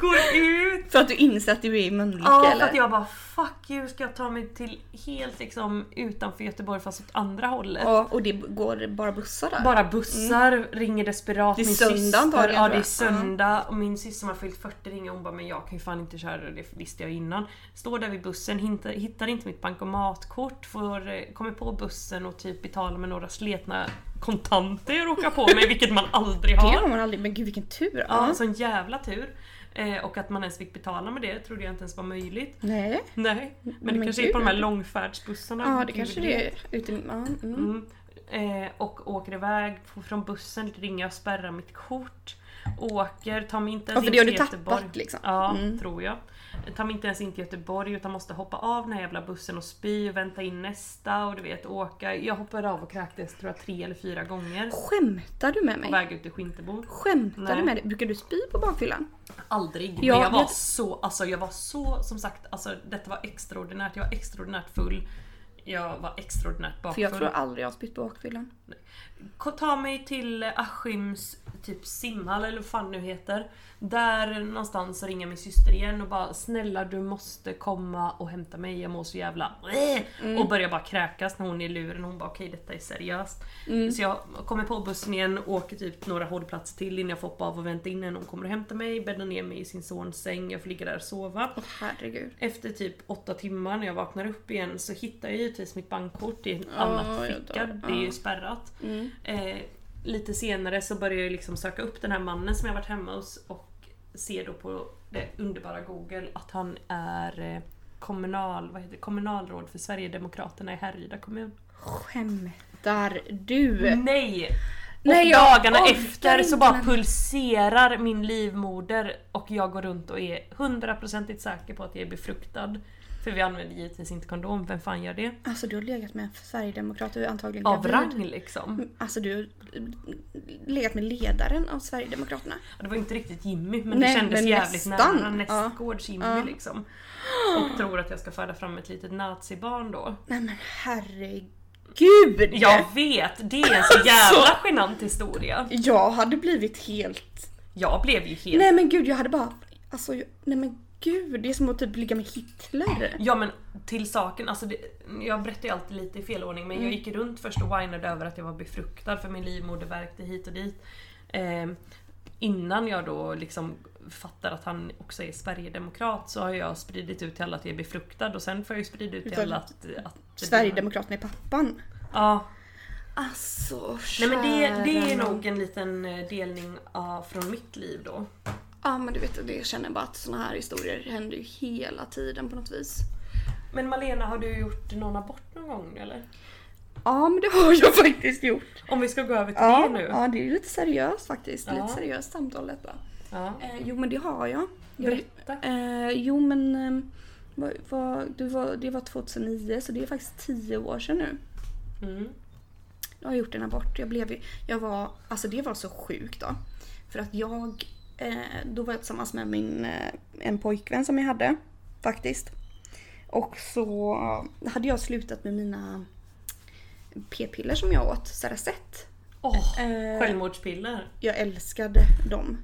[SPEAKER 1] Går ut.
[SPEAKER 2] För att du inser att du är i Mölnlycke
[SPEAKER 1] Ja, för
[SPEAKER 2] eller?
[SPEAKER 1] att jag bara fuck you ska jag ta mig till helt liksom utanför Göteborg fast åt andra hållet.
[SPEAKER 2] Ja, och det b- går bara bussar där.
[SPEAKER 1] Bara bussar, ringer desperat
[SPEAKER 2] Det är
[SPEAKER 1] min
[SPEAKER 2] söndag
[SPEAKER 1] syster.
[SPEAKER 2] antagligen,
[SPEAKER 1] Ja
[SPEAKER 2] tror
[SPEAKER 1] det är
[SPEAKER 2] jag.
[SPEAKER 1] söndag och min syster som har fyllt 40 ringer hon bara men jag kan ju fan inte köra det visste jag innan. Står där vid bussen, hintar, hittar inte mitt bankomatkort, får, eh, kommer på bussen och typ betalar med några sletna kontanter jag råkar på mig vilket man aldrig
[SPEAKER 2] Det
[SPEAKER 1] har.
[SPEAKER 2] har man aldrig, men gud vilken tur.
[SPEAKER 1] Ja,
[SPEAKER 2] Ja.
[SPEAKER 1] sån jävla tur. Eh, och att man ens fick betala med det trodde jag inte ens var möjligt.
[SPEAKER 2] Nej.
[SPEAKER 1] Nej, men det
[SPEAKER 2] Men
[SPEAKER 1] kanske är på de
[SPEAKER 2] gud.
[SPEAKER 1] här långfärdsbussarna.
[SPEAKER 2] Ja, det
[SPEAKER 1] Gud,
[SPEAKER 2] kanske
[SPEAKER 1] vet.
[SPEAKER 2] det är. Ute, ja, mm.
[SPEAKER 1] Mm. Eh, och åker iväg f- från bussen, ringer jag och spärrar mitt kort. Åker, tar mig inte ens
[SPEAKER 2] Ja, för
[SPEAKER 1] in
[SPEAKER 2] det har
[SPEAKER 1] till
[SPEAKER 2] du tappat,
[SPEAKER 1] Göteborg.
[SPEAKER 2] liksom.
[SPEAKER 1] Ja,
[SPEAKER 2] Mm.
[SPEAKER 1] tror jag. Tar mig inte ens in till Göteborg utan måste hoppa av den här jävla bussen och spy och vänta in nästa och du vet åka. Jag hoppade av och kräktes tror jag tre eller fyra gånger.
[SPEAKER 2] Skämtar du med
[SPEAKER 1] På
[SPEAKER 2] mig?
[SPEAKER 1] väg ut till Skintebo.
[SPEAKER 2] Skämtar
[SPEAKER 1] Nej.
[SPEAKER 2] du med dig? Brukar du spy på bakfyllan?
[SPEAKER 1] Aldrig.
[SPEAKER 2] Ja,
[SPEAKER 1] men jag var
[SPEAKER 2] vet-
[SPEAKER 1] så, alltså jag var så, som sagt, alltså detta var extraordinärt. Jag var extraordinärt full. Jag var extraordinärt bakfull.
[SPEAKER 2] För jag tror aldrig jag har spytt på bakfyllan.
[SPEAKER 1] Ko- ta mig till Askims typ simhall eller vad fan nu heter. Där någonstans så ringer min syster igen och bara “snälla du måste komma och hämta mig, jag mår så jävla...” Och börjar bara kräkas när hon är i luren. Hon bara “okej detta är seriöst”. Så jag kommer på bussen igen, åker typ några hållplatser till innan jag får hoppa av och vänta in henne. Hon kommer och hämtar mig, bäddar ner mig i sin sons säng, jag får ligga där och sova.
[SPEAKER 2] Herregud.
[SPEAKER 1] Efter typ åtta timmar när jag vaknar upp igen så hittar jag givetvis mitt bankkort i en
[SPEAKER 2] Ja,
[SPEAKER 1] annan
[SPEAKER 2] jag
[SPEAKER 1] ficka.
[SPEAKER 2] dör.
[SPEAKER 1] Det är
[SPEAKER 2] Ja. Mm.
[SPEAKER 1] ju spärrat. Eh, lite senare så börjar jag liksom söka upp den här mannen som jag varit hemma hos och ser då på det underbara google att han är eh, kommunal, vad heter det, kommunalråd för Sverigedemokraterna i Härryda kommun.
[SPEAKER 2] Skämtar du?
[SPEAKER 1] Nej! Och
[SPEAKER 2] Nej, jag
[SPEAKER 1] dagarna
[SPEAKER 2] orkar
[SPEAKER 1] efter
[SPEAKER 2] inte
[SPEAKER 1] så bara
[SPEAKER 2] med-
[SPEAKER 1] pulserar min livmoder och jag går runt och är hundraprocentigt säker på att jag är befruktad. För vi använder givetvis inte kondom, vem fan gör det?
[SPEAKER 2] Alltså du har legat med en sverigedemokrat, du är antagligen
[SPEAKER 1] Av
[SPEAKER 2] gravid.
[SPEAKER 1] rang liksom.
[SPEAKER 2] Alltså du har legat med ledaren av Sverigedemokraterna.
[SPEAKER 1] Ja, Det var inte riktigt Jimmy men
[SPEAKER 2] Nej,
[SPEAKER 1] det kändes
[SPEAKER 2] men
[SPEAKER 1] jävligt
[SPEAKER 2] nästan.
[SPEAKER 1] nära
[SPEAKER 2] Ja.
[SPEAKER 1] nästgårds Jimmy
[SPEAKER 2] Ja.
[SPEAKER 1] liksom. Och tror att jag ska föda fram ett litet nazibarn då.
[SPEAKER 2] Nej men herregud!
[SPEAKER 1] Jag vet! Det är en så jävla genant historia.
[SPEAKER 2] Jag hade blivit helt...
[SPEAKER 1] Jag blev ju helt...
[SPEAKER 2] Nej men gud jag hade bara... Alltså jag... nej men gud det är som att typ ligga med Hitler.
[SPEAKER 1] Ja men till saken, alltså det, jag berättar ju alltid lite i fel ordning men jag
[SPEAKER 2] Mm.
[SPEAKER 1] gick runt först och whinade över att jag var befruktad för min livmoder värkte hit och dit. Eh, innan jag då liksom fattar att han också är Sverigedemokrat så har jag spridit ut till alla att jag är befruktad och sen får jag ju sprida ut till
[SPEAKER 2] Utan-
[SPEAKER 1] alla att... att
[SPEAKER 2] Sverigedemokraterna är pappan.
[SPEAKER 1] Ja.
[SPEAKER 2] Alltså
[SPEAKER 1] Nej men det, det är
[SPEAKER 2] kära nån.
[SPEAKER 1] nog en liten eh, delning ah, från mitt liv då.
[SPEAKER 2] Ja men du vet det jag känner bara att såna här historier händer ju hela tiden på något vis.
[SPEAKER 1] Men Malena, har du gjort någon abort någon gång eller?
[SPEAKER 2] Ja men det har jag faktiskt gjort.
[SPEAKER 1] Om vi ska gå över till
[SPEAKER 2] Ja,
[SPEAKER 1] det nu.
[SPEAKER 2] ja det är lite seriöst faktiskt.
[SPEAKER 1] Ja.
[SPEAKER 2] Lite seriöst samtal detta.
[SPEAKER 1] Ja.
[SPEAKER 2] Eh, jo men det har jag. jag
[SPEAKER 1] Berätta.
[SPEAKER 2] eh, jo men eh, vad, vad, det, var, det var 2009 så det är faktiskt 10 år sedan nu.
[SPEAKER 1] Mm.
[SPEAKER 2] Jag har gjort en abort. Jag blev ju, jag var, alltså det var så sjukt då. För att jag, eh, då var jag tillsammans med min, eh, en pojkvän som jag hade faktiskt. Och så eh, hade jag slutat med mina p-piller som jag åt, Saracet.
[SPEAKER 1] Åh,
[SPEAKER 2] Eh,
[SPEAKER 1] självmordspiller.
[SPEAKER 2] Jag älskade dem.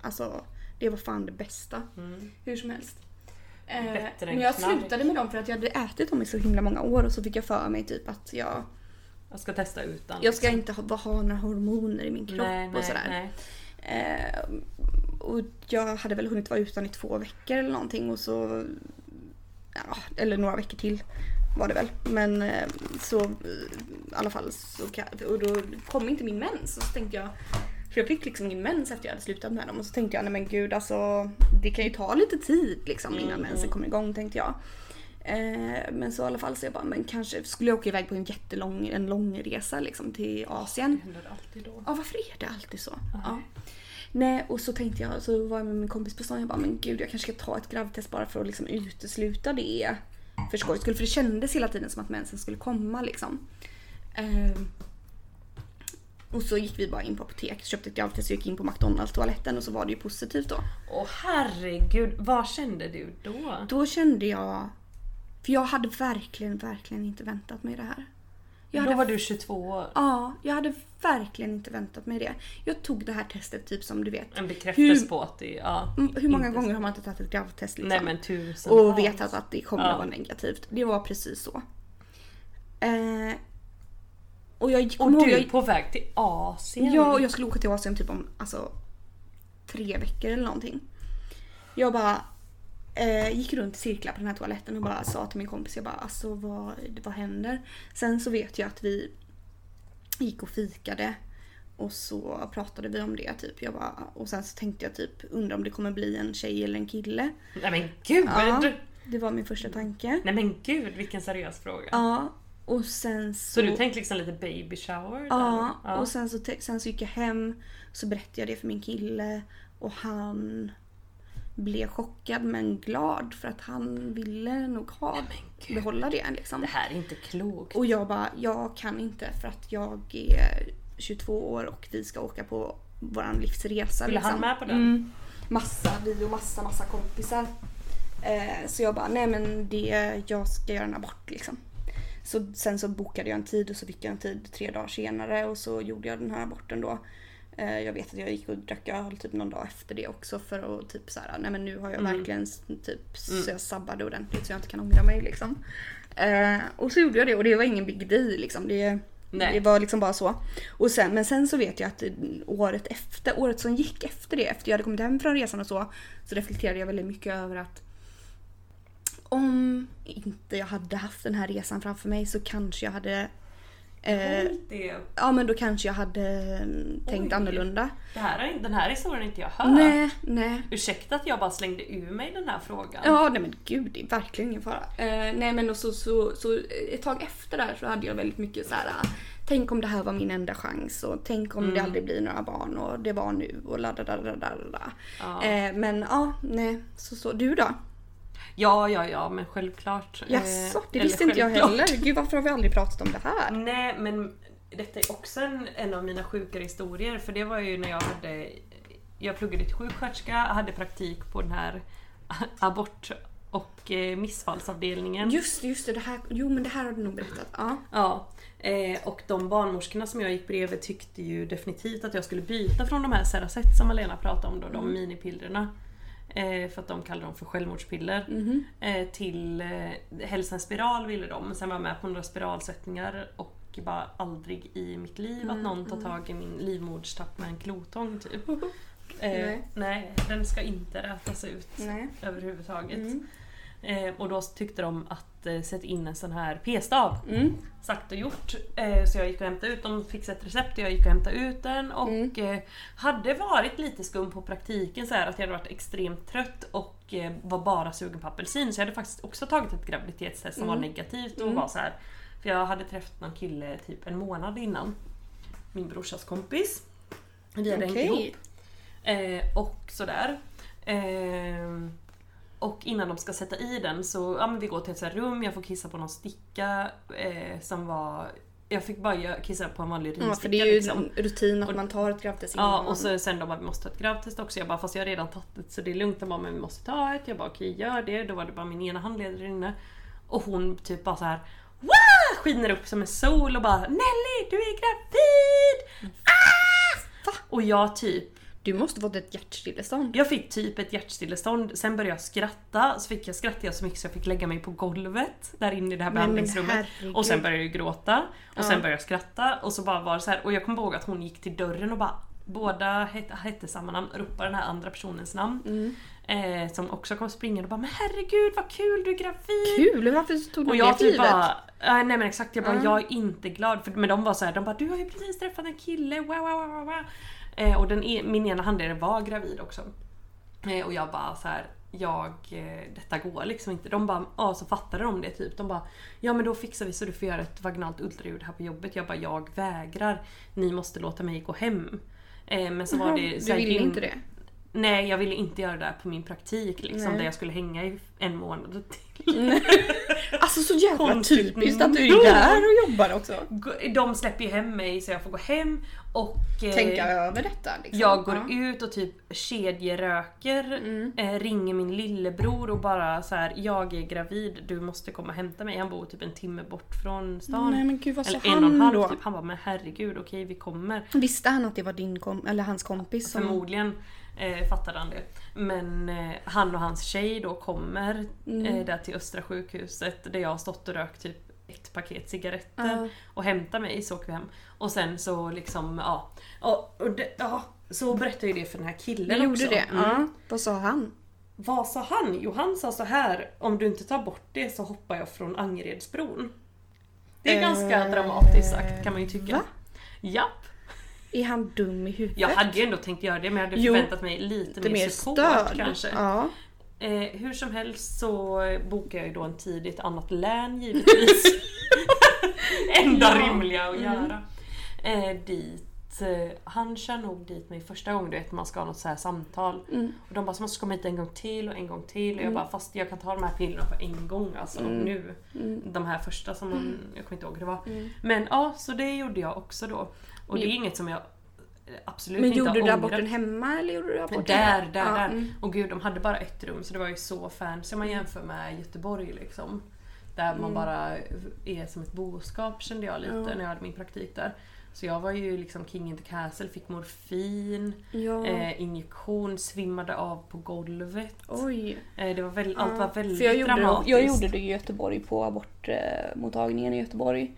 [SPEAKER 2] Alltså det var fan det bästa. Hur som helst. Eh,
[SPEAKER 1] Mm. Bättre än
[SPEAKER 2] men jag
[SPEAKER 1] knark.
[SPEAKER 2] slutade med dem för att jag hade ätit dem i så himla många år och så fick jag för mig typ att jag,
[SPEAKER 1] Jag ska testa utan.
[SPEAKER 2] jag ska inte ha, ha några hormoner i min kropp
[SPEAKER 1] nej,
[SPEAKER 2] och
[SPEAKER 1] nej,
[SPEAKER 2] sådär.
[SPEAKER 1] nej.
[SPEAKER 2] Eh, och jag hade väl hunnit vara utan i två veckor eller någonting och så... Ja, eller några veckor till var det väl. Men eh, så eh, i alla fall så ka- Och då kom inte min mens och så tänkte jag... För jag fick liksom ingen mens efter jag hade slutat med dem och så tänkte jag nej men gud alltså det kan ju ta lite tid liksom innan mensen kommer igång tänkte jag. Eh, men så i alla fall så jag bara men kanske skulle jag åka iväg på en jättelång en lång resa liksom till Asien.
[SPEAKER 1] Det händer alltid då.
[SPEAKER 2] Ja varför är det alltid så? Ja. Nej och så tänkte jag, så var jag med min kompis på stan jag bara men gud jag kanske ska ta ett gravidtest bara för att liksom utesluta det för skojs skull. För det kändes hela tiden som att mensen skulle komma liksom. Ehm. och så gick vi bara in på apoteket, köpte ett gravidtest och gick in på McDonalds toaletten och så var det ju positivt då.
[SPEAKER 1] Åh herregud, vad kände du då?
[SPEAKER 2] Då kände jag, för jag hade verkligen, verkligen inte väntat mig det här.
[SPEAKER 1] Då
[SPEAKER 2] Jag hade
[SPEAKER 1] var du 22 år.
[SPEAKER 2] Ja, jag hade verkligen inte väntat mig det. Jag tog det här testet typ som du vet.
[SPEAKER 1] En bekräftelse
[SPEAKER 2] Hur-
[SPEAKER 1] på att det ja,
[SPEAKER 2] Mm, Hur många
[SPEAKER 1] inte-
[SPEAKER 2] gånger har man inte tagit ett gravtest liksom?
[SPEAKER 1] Nej men tusen.
[SPEAKER 2] och vetat att det kommer
[SPEAKER 1] Ja.
[SPEAKER 2] att vara negativt. Det var precis så. Eh, och jag gick
[SPEAKER 1] Och
[SPEAKER 2] ihåg-
[SPEAKER 1] du är
[SPEAKER 2] jag,
[SPEAKER 1] på väg till Asien.
[SPEAKER 2] Ja, och jag skulle åka till Asien typ om alltså, tre veckor eller någonting. Jag bara eh, gick runt i cirklar på den här toaletten och bara sa till min kompis, jag bara alltså vad, vad händer? Sen så vet jag att vi gick och fikade och så pratade vi om det typ. Jag bara, och sen så tänkte jag typ undrar om det kommer bli en tjej eller en kille.
[SPEAKER 1] Nej men gud!
[SPEAKER 2] Ja, det var min första tanke.
[SPEAKER 1] Nej men gud vilken seriös fråga.
[SPEAKER 2] Ja, och sen så...
[SPEAKER 1] Så du tänkte liksom lite baby shower?
[SPEAKER 2] Ja,
[SPEAKER 1] där?
[SPEAKER 2] och sen så, te- sen så gick jag hem så berättade jag det för min kille och han blev chockad men glad för att han ville nog ha, behålla det liksom.
[SPEAKER 1] Det här är inte klokt.
[SPEAKER 2] Och jag bara, jag kan inte för att jag är 22 år och vi ska åka på våran livsresa.
[SPEAKER 1] Skulle
[SPEAKER 2] liksom.
[SPEAKER 1] han med på den?
[SPEAKER 2] Mm. Massa, vi och massa, massa kompisar. Eh, så jag bara, nej men det, jag ska göra en abort liksom. Så sen så bokade jag en tid och så fick jag en tid tre dagar senare och så gjorde jag den här aborten då. Eh, Jag vet att jag gick och drack öl typ någon dag efter det också för att typ så här, nej men nu har jag
[SPEAKER 1] Mm.
[SPEAKER 2] verkligen s- typ
[SPEAKER 1] Mm.
[SPEAKER 2] så jag sabbade ordentligt så jag inte kan ångra mig liksom. Eh, och så gjorde jag det och det var ingen big deal liksom. Det,
[SPEAKER 1] Nej.
[SPEAKER 2] det var liksom bara så. Och sen, men sen så vet jag att eh, året efter, året som gick efter det, efter jag hade kommit hem från resan och så, så reflekterade jag väldigt mycket över att om inte jag hade haft den här resan framför mig så kanske jag hade eh,
[SPEAKER 1] det,
[SPEAKER 2] Ja men då kanske jag hade mm, tänkt
[SPEAKER 1] Oj.
[SPEAKER 2] annorlunda.
[SPEAKER 1] det här, har in- den här historien har inte jag hört.
[SPEAKER 2] Nej, nej.
[SPEAKER 1] Ursäkta att jag bara slängde ur mig den här frågan.
[SPEAKER 2] Ja nej men gud det är verkligen ingen fara. Eh, nej men och så, så, så eh, ett tag efter där så hade jag väldigt mycket så här. ah, Tänk om det här var min enda chans och tänk om det aldrig blir några barn och det var nu och la da da da da da.
[SPEAKER 1] Ja.
[SPEAKER 2] Eh, men ja, Eh, nej. Så, så. Du då?
[SPEAKER 1] Ja, ja, ja, men självklart. Eh,
[SPEAKER 2] Jaså, det
[SPEAKER 1] eller
[SPEAKER 2] visste inte jag
[SPEAKER 1] självklart.
[SPEAKER 2] heller. Gud varför har vi aldrig pratat om det här?
[SPEAKER 1] Nej, men detta är också en, en av mina sjukare historier. För det var ju när jag hade... Jag pluggade till sjuksköterska, hade praktik på den här abort och eh, missfallsavdelningen.
[SPEAKER 2] Just det, just det, det här. Jo men det här har du nog berättat. Ja.
[SPEAKER 1] Ja, eh, och de barnmorskorna som jag gick bredvid tyckte ju definitivt att jag skulle byta från de här Ceracet som Malena pratade om då,
[SPEAKER 2] Mm.
[SPEAKER 1] de minipillerna. Eh, för att de kallar dem för självmordspiller. Eh, till eh, hälsans spiral ville de, men sen var jag med på några spiralsättningar och bara aldrig i mitt liv
[SPEAKER 2] Mm,
[SPEAKER 1] att någon tar tag i min livmoderstapp med en klotång typ. Eh,
[SPEAKER 2] Nej.
[SPEAKER 1] nej, den ska inte rätas ut
[SPEAKER 2] Nej.
[SPEAKER 1] överhuvudtaget.
[SPEAKER 2] Mm.
[SPEAKER 1] Eh, och då tyckte de att eh, sätta in en sån här p-stav
[SPEAKER 2] Mm.
[SPEAKER 1] sagt och gjort. Eh, Så jag gick och hämtade ut, de fixade ett recept och jag gick och hämtade ut den och eh, hade varit lite skum på praktiken så här att jag hade varit extremt trött och eh, var bara sugen på apelsin. Så jag hade faktiskt också tagit ett graviditetstest som var negativt och var så här. För jag hade träffat någon kille typ en månad innan. Min brorsas kompis. Vi hade
[SPEAKER 2] Okej.
[SPEAKER 1] hängt ihop. Eh, och sådär. Ehm, och innan de ska sätta i den så, ja men vi går till ett så här rum, jag får kissa på någon sticka eh, som var... Jag fick bara gö- kissa på en vanlig
[SPEAKER 2] Ja,
[SPEAKER 1] rinsticka
[SPEAKER 2] för det är ju
[SPEAKER 1] liksom.
[SPEAKER 2] rutin att man tar ett gravtest innan
[SPEAKER 1] Ja
[SPEAKER 2] man-
[SPEAKER 1] och så, sen de bara vi måste ta ett gravtest också. Jag bara fast jag har redan tagit ett så det är lugnt. De bara men vi måste ta ett. Jag bara okej gör det. Då var det bara min ena handledare inne. Och hon typ bara så här Wah! skiner upp som en sol och bara Nelly du är gravid! Ah! Och jag typ
[SPEAKER 2] Du måste fått ett hjärtstillestånd.
[SPEAKER 1] jag fick typ ett hjärtstillestånd, sen började jag skratta, så fick jag skratta så mycket så jag fick lägga mig på golvet där inne i det här
[SPEAKER 2] men
[SPEAKER 1] behandlingsrummet.
[SPEAKER 2] herregud.
[SPEAKER 1] Och sen började jag gråta, och
[SPEAKER 2] Ja.
[SPEAKER 1] sen började jag skratta och så bara var det så här. och jag kommer ihåg att hon gick till dörren och bara Båda hette, hette samma namn, ropade den här andra personens namn.
[SPEAKER 2] Mm.
[SPEAKER 1] Eh, som också kom springande och bara “men herregud vad kul, du är gravid!”
[SPEAKER 2] Kul! Varför tog du
[SPEAKER 1] Och
[SPEAKER 2] det Mm.
[SPEAKER 1] jag typ
[SPEAKER 2] typ
[SPEAKER 1] bara, äh, nej men exakt jag bara,
[SPEAKER 2] Ja.
[SPEAKER 1] jag är inte glad. För, men de var så här, de bara du har ju precis träffat en kille, wow wow wow wow, wow. Eh, och den, e- min ena handledare var gravid också. Eh, och jag bara så här, jag, eh, detta går liksom inte. De bara, ja så fattade de det typ. De bara, ja men då fixar vi så du får göra ett vaginalt ultraljud här på jobbet. Jag bara, jag vägrar. Ni måste låta mig gå hem. Eh, men så var det så
[SPEAKER 2] Du
[SPEAKER 1] här
[SPEAKER 2] ville
[SPEAKER 1] gym-
[SPEAKER 2] inte det?
[SPEAKER 1] Nej jag ville inte göra det där på min praktik liksom.
[SPEAKER 2] Nej.
[SPEAKER 1] Där jag skulle hänga i en månad till.
[SPEAKER 2] Alltså så jävla
[SPEAKER 1] Konstigt Eh,
[SPEAKER 2] typiskt att du
[SPEAKER 1] nog.
[SPEAKER 2] är där och jobbar också.
[SPEAKER 1] Gå- De släpper ju hem mig så jag får gå hem och eh,
[SPEAKER 2] Tänka över detta liksom.
[SPEAKER 1] jag går
[SPEAKER 2] Ja. Mm.
[SPEAKER 1] ut och typ kedjeröker, eh, ringer min lillebror och bara så här: jag är gravid, du måste komma och hämta mig. Han bor typ en timme bort från stan.
[SPEAKER 2] Nej men gud vad sa
[SPEAKER 1] Eller en och en
[SPEAKER 2] han
[SPEAKER 1] halv
[SPEAKER 2] då?
[SPEAKER 1] typ. Han bara, men herregud okej vi kommer.
[SPEAKER 2] Visste han att det var din kom eller hans kompis som...
[SPEAKER 1] Förmodligen eh, fattade han det. Men eh, han och hans tjej då kommer
[SPEAKER 2] Mm.
[SPEAKER 1] eh, där till Östra sjukhuset där jag har stått och rökt typ ett paket cigaretter
[SPEAKER 2] Ja.
[SPEAKER 1] och hämtar mig så åker vi hem. Och sen så liksom ja. Och, och det, ja så berättade jag ju det för den här
[SPEAKER 2] Du
[SPEAKER 1] killen
[SPEAKER 2] gjorde
[SPEAKER 1] också.
[SPEAKER 2] det?
[SPEAKER 1] Mm.
[SPEAKER 2] Ja. Vad sa han?
[SPEAKER 1] Vad sa han? Jo han sa så här om du inte tar bort det så hoppar jag från Angeredsbron. Det är ganska
[SPEAKER 2] Eh,
[SPEAKER 1] dramatiskt sagt kan man ju tycka.
[SPEAKER 2] va?
[SPEAKER 1] Japp.
[SPEAKER 2] Är han dum i huvudet?
[SPEAKER 1] Jag hade ju ändå tänkt göra det men jag hade
[SPEAKER 2] Jo,
[SPEAKER 1] förväntat mig lite,
[SPEAKER 2] Lite
[SPEAKER 1] mer
[SPEAKER 2] mer
[SPEAKER 1] support
[SPEAKER 2] stöd?
[SPEAKER 1] kanske.
[SPEAKER 2] Ja.
[SPEAKER 1] Eh, hur som helst så bokar jag ju då en tid i ett annat län givetvis. Enda rimliga
[SPEAKER 2] Mm.
[SPEAKER 1] att göra. Eh, dit, eh, han kör nog dit mig första gången du vet man ska ha något så här samtal.
[SPEAKER 2] Mm.
[SPEAKER 1] Och de bara så måste du komma hit en gång till och en gång till. Och jag bara fast jag kan ta de här pillerna på en gång alltså
[SPEAKER 2] Mm.
[SPEAKER 1] nu. De här första som man, jag kommer inte ihåg hur det var.
[SPEAKER 2] Mm.
[SPEAKER 1] Men ja, så det gjorde jag också då. Och det är inget som jag eh, absolut
[SPEAKER 2] Men
[SPEAKER 1] inte
[SPEAKER 2] gjorde
[SPEAKER 1] har
[SPEAKER 2] du
[SPEAKER 1] ångrat.
[SPEAKER 2] aborten hemma eller gjorde du aborten?
[SPEAKER 1] Där, där,
[SPEAKER 2] Ja,
[SPEAKER 1] där.
[SPEAKER 2] mm.
[SPEAKER 1] Och gud, de hade bara ett rum så det var ju så fancy om
[SPEAKER 4] Mm.
[SPEAKER 1] man jämför med Göteborg liksom. Där man bara är som ett boskap kände jag lite när jag hade min praktik där. Så jag var ju liksom king in the castle, fick morfin,
[SPEAKER 4] Ja.
[SPEAKER 1] eh, injektion, svimmade av på golvet.
[SPEAKER 4] Oj.
[SPEAKER 1] Eh, det var väl, Allt var väldigt
[SPEAKER 4] För jag gjorde,
[SPEAKER 1] dramatiskt.
[SPEAKER 4] jag gjorde det i Göteborg på abortmottagningen i Göteborg.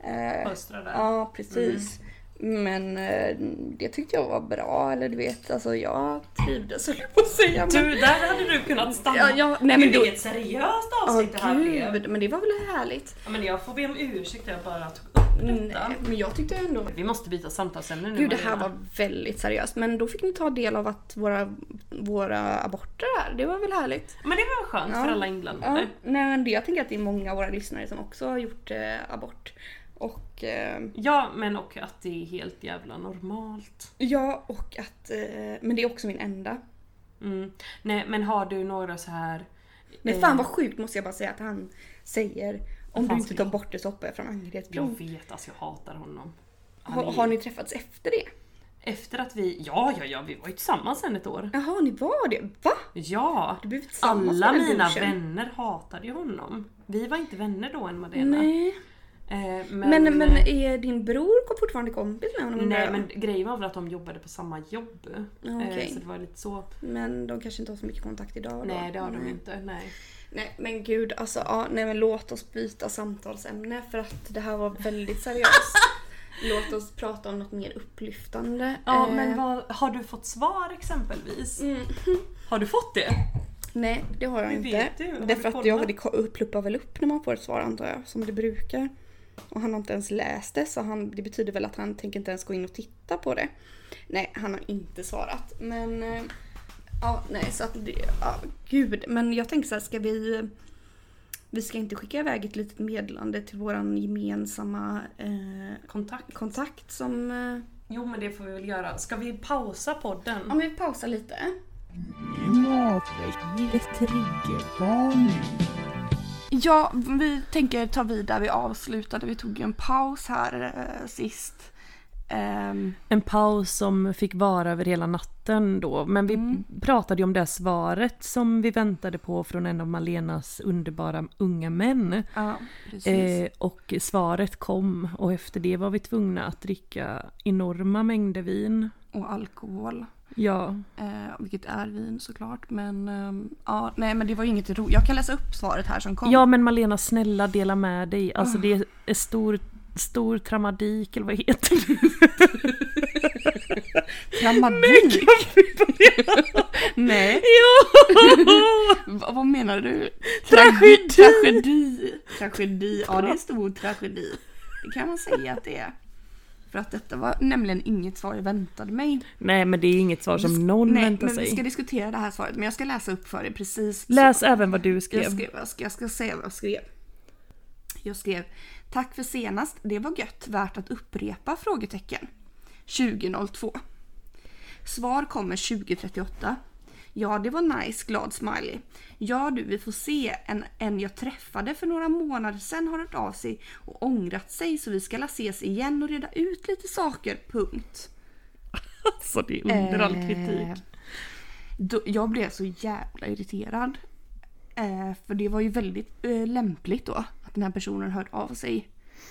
[SPEAKER 4] Eh,
[SPEAKER 1] Östra där.
[SPEAKER 4] ja, precis.
[SPEAKER 1] Mm.
[SPEAKER 4] Men eh, det tyckte jag var bra, eller du vet, alltså jag trivdes höll jag på att säga. Men,
[SPEAKER 1] Du, där hade du kunnat stanna.
[SPEAKER 4] ja, ja, nej, men
[SPEAKER 1] Gud,
[SPEAKER 4] då,
[SPEAKER 1] vilket seriöst
[SPEAKER 4] Åh
[SPEAKER 1] avsnitt det här blev.
[SPEAKER 4] gud, men det var väl härligt.
[SPEAKER 1] Ja, men jag får be om ursäkt att jag bara tog upp detta.
[SPEAKER 4] Nej, men jag tyckte ändå...
[SPEAKER 1] Vi måste byta samtalsämne nu
[SPEAKER 4] Gud, det här
[SPEAKER 1] Malena.
[SPEAKER 4] var väldigt seriöst. Men då fick ni ta del av att våra, våra aborter här, det var väl härligt?
[SPEAKER 1] Men det var väl skönt
[SPEAKER 4] Ja.
[SPEAKER 1] för alla
[SPEAKER 4] Ja,
[SPEAKER 1] inblandade.
[SPEAKER 4] nej, men det, jag tänker att det är många av våra lyssnare som också har gjort eh, abort. Och, eh,
[SPEAKER 1] Ja, men och att det är helt jävla normalt.
[SPEAKER 4] ja, och att, eh, men det är också min enda.
[SPEAKER 1] Mm. Nej, men har du några så här...
[SPEAKER 4] Men
[SPEAKER 1] eh,
[SPEAKER 4] fan vad sjukt måste jag bara säga att han säger om
[SPEAKER 1] Vad fan
[SPEAKER 4] du inte
[SPEAKER 1] ska
[SPEAKER 4] tar bort det så hoppar jag från
[SPEAKER 1] Jag
[SPEAKER 4] angreppsprov.
[SPEAKER 1] vet, alltså jag hatar honom. Han
[SPEAKER 4] Mm. Har,
[SPEAKER 1] är,
[SPEAKER 4] har ni träffats efter det?
[SPEAKER 1] Efter att vi... Ja, ja, ja, vi var ju tillsammans sen ett år.
[SPEAKER 4] Jaha, ni var det? Va?
[SPEAKER 1] Ja!
[SPEAKER 4] Du blev tillsammans
[SPEAKER 1] Alla
[SPEAKER 4] med den
[SPEAKER 1] mina
[SPEAKER 4] douchen.
[SPEAKER 1] vänner hatade ju honom. Vi var inte vänner då än Madena.
[SPEAKER 4] Nej.
[SPEAKER 1] Eh,
[SPEAKER 4] Men, men, är din bror fortfarande kompis med honom? undrar
[SPEAKER 1] Nej
[SPEAKER 4] jag?
[SPEAKER 1] men grejen var väl att de jobbade på samma jobb. Eh,
[SPEAKER 4] Okej.
[SPEAKER 1] Så det var lite så.
[SPEAKER 4] men de kanske inte har så mycket kontakt idag? då?
[SPEAKER 1] Nej det har
[SPEAKER 4] Mm.
[SPEAKER 1] de inte. Nej.
[SPEAKER 4] Nej men gud alltså, ja, nej men låt oss byta samtalsämne för att det här var väldigt seriöst. låt oss prata om något mer upplyftande.
[SPEAKER 1] Ja
[SPEAKER 4] Eh,
[SPEAKER 1] men vad, har du fått svar exempelvis?
[SPEAKER 4] Mm.
[SPEAKER 1] Har du fått det?
[SPEAKER 4] Nej det har jag
[SPEAKER 1] Hur
[SPEAKER 4] inte.
[SPEAKER 1] vet du? Har
[SPEAKER 4] Därför
[SPEAKER 1] du
[SPEAKER 4] att jag,
[SPEAKER 1] kollat?
[SPEAKER 4] det ko- pluppar väl upp när man får ett svar antar jag, som det brukar. Och han har inte ens läst det så han, det betyder väl att han tänker inte ens gå in och titta på det. Nej han har inte svarat men eh, ja nej så att det, ja, gud men jag tänker så här ska vi vi ska inte skicka iväg ett litet meddelande till våran gemensamma eh,
[SPEAKER 1] Kontakt? Mm.
[SPEAKER 4] kontakt som... Eh,
[SPEAKER 1] Jo men det får vi väl göra. Ska vi pausa podden?
[SPEAKER 4] ja men vi pausar lite.
[SPEAKER 3] Matväggivet triggervarning.
[SPEAKER 2] Ja, vi tänker ta vid där vi avslutade. Vi tog ju en paus här eh, sist. Ehm,
[SPEAKER 1] En paus som fick vara över hela natten då. Men vi pratade ju om det här svaret som vi väntade på från en av Malenas underbara unga män.
[SPEAKER 2] ja, precis.
[SPEAKER 1] Eh, och svaret kom och efter det var vi tvungna att dricka enorma mängder vin.
[SPEAKER 2] Och alkohol.
[SPEAKER 1] Ja,
[SPEAKER 2] Eh, vilket är vin såklart. Men ehm, ja, nej men det var ju inget roligt. Jag kan läsa upp svaret här som kom.
[SPEAKER 1] ja men Malena snälla dela med dig. Alltså det är stor, stor tramadik eller vad heter det?
[SPEAKER 2] Tramadik! nej. Va, vad menar du? Tragedi! Tragedi! Tragedi, ja det är stor tragedi. Det kan man säga att det är. För att detta var nämligen inget svar jag väntade mig.
[SPEAKER 1] Nej men det är inget svar som någon
[SPEAKER 2] Nej,
[SPEAKER 1] väntar
[SPEAKER 2] men vi ska
[SPEAKER 1] sig.
[SPEAKER 2] diskutera det här svaret, men jag ska läsa upp för dig precis. så.
[SPEAKER 1] Läs även vad du skrev.
[SPEAKER 2] Jag, skrev, jag, ska, jag ska säga vad jag skrev. Jag skrev Tack för senast, det var gött, värt att upprepa? frågetecken. 2002. Svar kommer 2038. Ja, det var nice, glad smiley. Ja du, vi får se. En, en jag träffade för några månader sedan har hört av sig och ångrat sig så vi ska la ses igen och reda ut lite saker, punkt.
[SPEAKER 1] Alltså det är under all
[SPEAKER 2] Eh,
[SPEAKER 1] kritik.
[SPEAKER 2] Då, jag blev så jävla irriterad. Eh, för det var ju väldigt eh, lämpligt då att den här personen hörde av sig.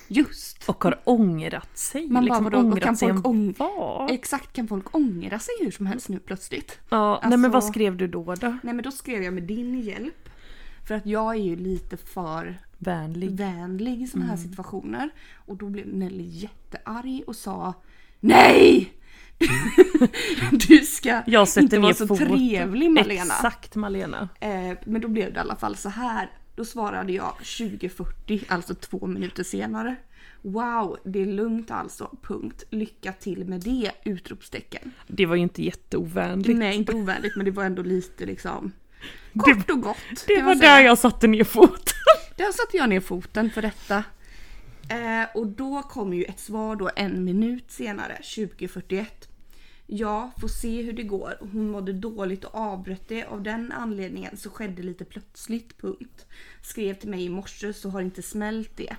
[SPEAKER 2] Just!
[SPEAKER 1] Och har ångrat sig.
[SPEAKER 2] Man
[SPEAKER 1] liksom
[SPEAKER 2] bara, vadå,
[SPEAKER 1] ångrat
[SPEAKER 2] kan
[SPEAKER 1] sig
[SPEAKER 2] folk
[SPEAKER 1] en
[SPEAKER 2] ång-
[SPEAKER 1] vad?
[SPEAKER 2] Exakt, kan folk ångra sig hur som helst nu plötsligt?
[SPEAKER 1] Ja, nej men vad
[SPEAKER 2] Alltså-
[SPEAKER 1] skrev du då då?
[SPEAKER 2] Nej men då skrev jag med din hjälp. För att jag är ju lite för
[SPEAKER 1] Vänlig. Mm.
[SPEAKER 2] vänlig i sådana här situationer. Och då blev Nelly jättearg och sa NEJ! du ska
[SPEAKER 1] Mm. Jag sätter
[SPEAKER 2] inte vara
[SPEAKER 1] ner
[SPEAKER 2] så
[SPEAKER 1] foten.
[SPEAKER 2] trevlig Malena.
[SPEAKER 1] Exakt Malena.
[SPEAKER 2] Eh, men då blev det i alla fall så här. Då svarade jag 2040, alltså två minuter senare. Wow, det är lugnt alltså, punkt. Lycka till med det! Utropstecken.
[SPEAKER 1] Det var ju inte jätteovänligt.
[SPEAKER 2] Nej, inte ovänligt men det var ändå lite liksom
[SPEAKER 1] Det-
[SPEAKER 2] kort och gott.
[SPEAKER 1] Det
[SPEAKER 2] kan
[SPEAKER 1] var
[SPEAKER 2] man säga.
[SPEAKER 1] där jag satte ner foten.
[SPEAKER 2] Där satte jag ner foten för detta. Eh, och då kom ju ett svar då en minut senare, 2041. Ja, får se hur det går. Hon mådde dåligt och avbröt det. Av den anledningen så skedde lite plötsligt, punkt. Skrev till mig i morse så har inte smält det.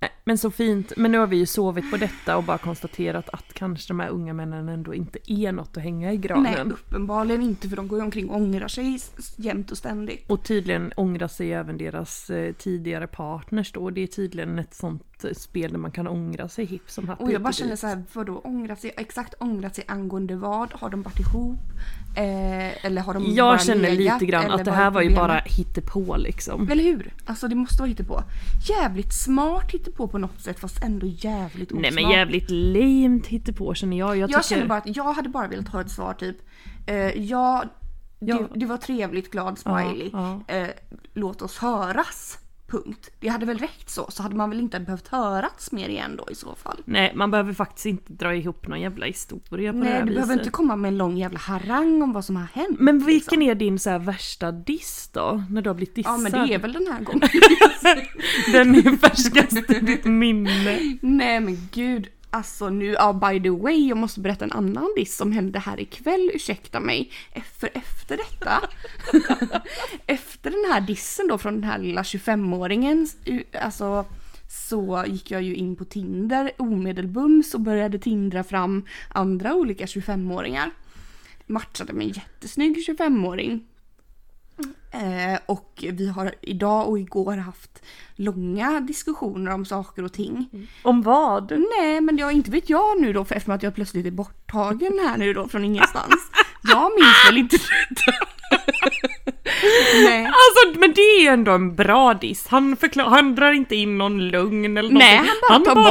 [SPEAKER 1] Nej, Men så fint, men nu har vi ju sovit på detta och bara konstaterat att kanske de här unga männen ändå inte är något att hänga i
[SPEAKER 2] Nej,
[SPEAKER 1] granen.
[SPEAKER 2] uppenbarligen inte för de går ju omkring och ångrar sig s- s- jämt och ständigt.
[SPEAKER 1] Och tydligen ångrar sig även deras eh, tidigare partners då. Det är tydligen ett sånt ett spel där man kan ångra sig hipp som happ.
[SPEAKER 2] Och
[SPEAKER 1] hit
[SPEAKER 2] jag bara
[SPEAKER 1] dit.
[SPEAKER 2] känner så här, vadå ångrat sig? Exakt ångrat sig angående vad? Har de varit ihop? Eh, eller har de bara
[SPEAKER 1] Jag känner
[SPEAKER 2] legat?
[SPEAKER 1] lite grann
[SPEAKER 2] Eller
[SPEAKER 1] att det
[SPEAKER 2] vad
[SPEAKER 1] här
[SPEAKER 2] är
[SPEAKER 1] var ju
[SPEAKER 2] problemet?
[SPEAKER 1] bara hittepå liksom.
[SPEAKER 2] Eller hur? Alltså det måste vara hittepå. Jävligt smart hittepå på något sätt fast ändå jävligt
[SPEAKER 1] Nej
[SPEAKER 2] osmart.
[SPEAKER 1] men jävligt lamt hittepå känner jag. Jag,
[SPEAKER 2] Jag
[SPEAKER 1] tycker,
[SPEAKER 2] känner bara att jag hade bara velat ha ett svar typ eh, ja,
[SPEAKER 1] Ja.
[SPEAKER 2] Det, det var trevligt glad smiley.
[SPEAKER 1] Ja,
[SPEAKER 2] Eh, låt oss höras. Punkt. Det hade väl räckt så, så hade man väl inte behövt höras mer igen då i så fall.
[SPEAKER 1] Nej man behöver faktiskt inte dra ihop någon jävla historia på det
[SPEAKER 2] Nej,
[SPEAKER 1] här
[SPEAKER 2] du
[SPEAKER 1] viset.
[SPEAKER 2] behöver inte komma med en lång jävla harang om vad som har hänt.
[SPEAKER 1] Men vilken är din så här värsta diss då? När du har blivit
[SPEAKER 2] Ja
[SPEAKER 1] dissad?
[SPEAKER 2] men det är väl den här gången.
[SPEAKER 1] Den är färskast i ditt minne.
[SPEAKER 2] Nej men gud. Alltså nu, ja by the way, jag måste berätta en annan diss som hände här ikväll, ursäkta mig. För efter detta, efter den här dissen då från den här lilla 25-åringen, u- alltså så gick jag ju in på Tinder omedelbums och började tindra fram andra olika 25-åringar. Matchade med en jättesnygg 25-åring Eh, och vi har idag och igår haft långa diskussioner om saker och ting.
[SPEAKER 1] Om vad?
[SPEAKER 2] Nej men jag inte vet jag nu då för eftersom att jag plötsligt är borttagen här nu då från ingenstans. Jag minns väl inte detta. Nej.
[SPEAKER 1] Alltså men det är ju ändå en bra diss. Han, förklar, han drar inte in någon lugn eller
[SPEAKER 2] Nej,
[SPEAKER 1] någonting.
[SPEAKER 2] han bara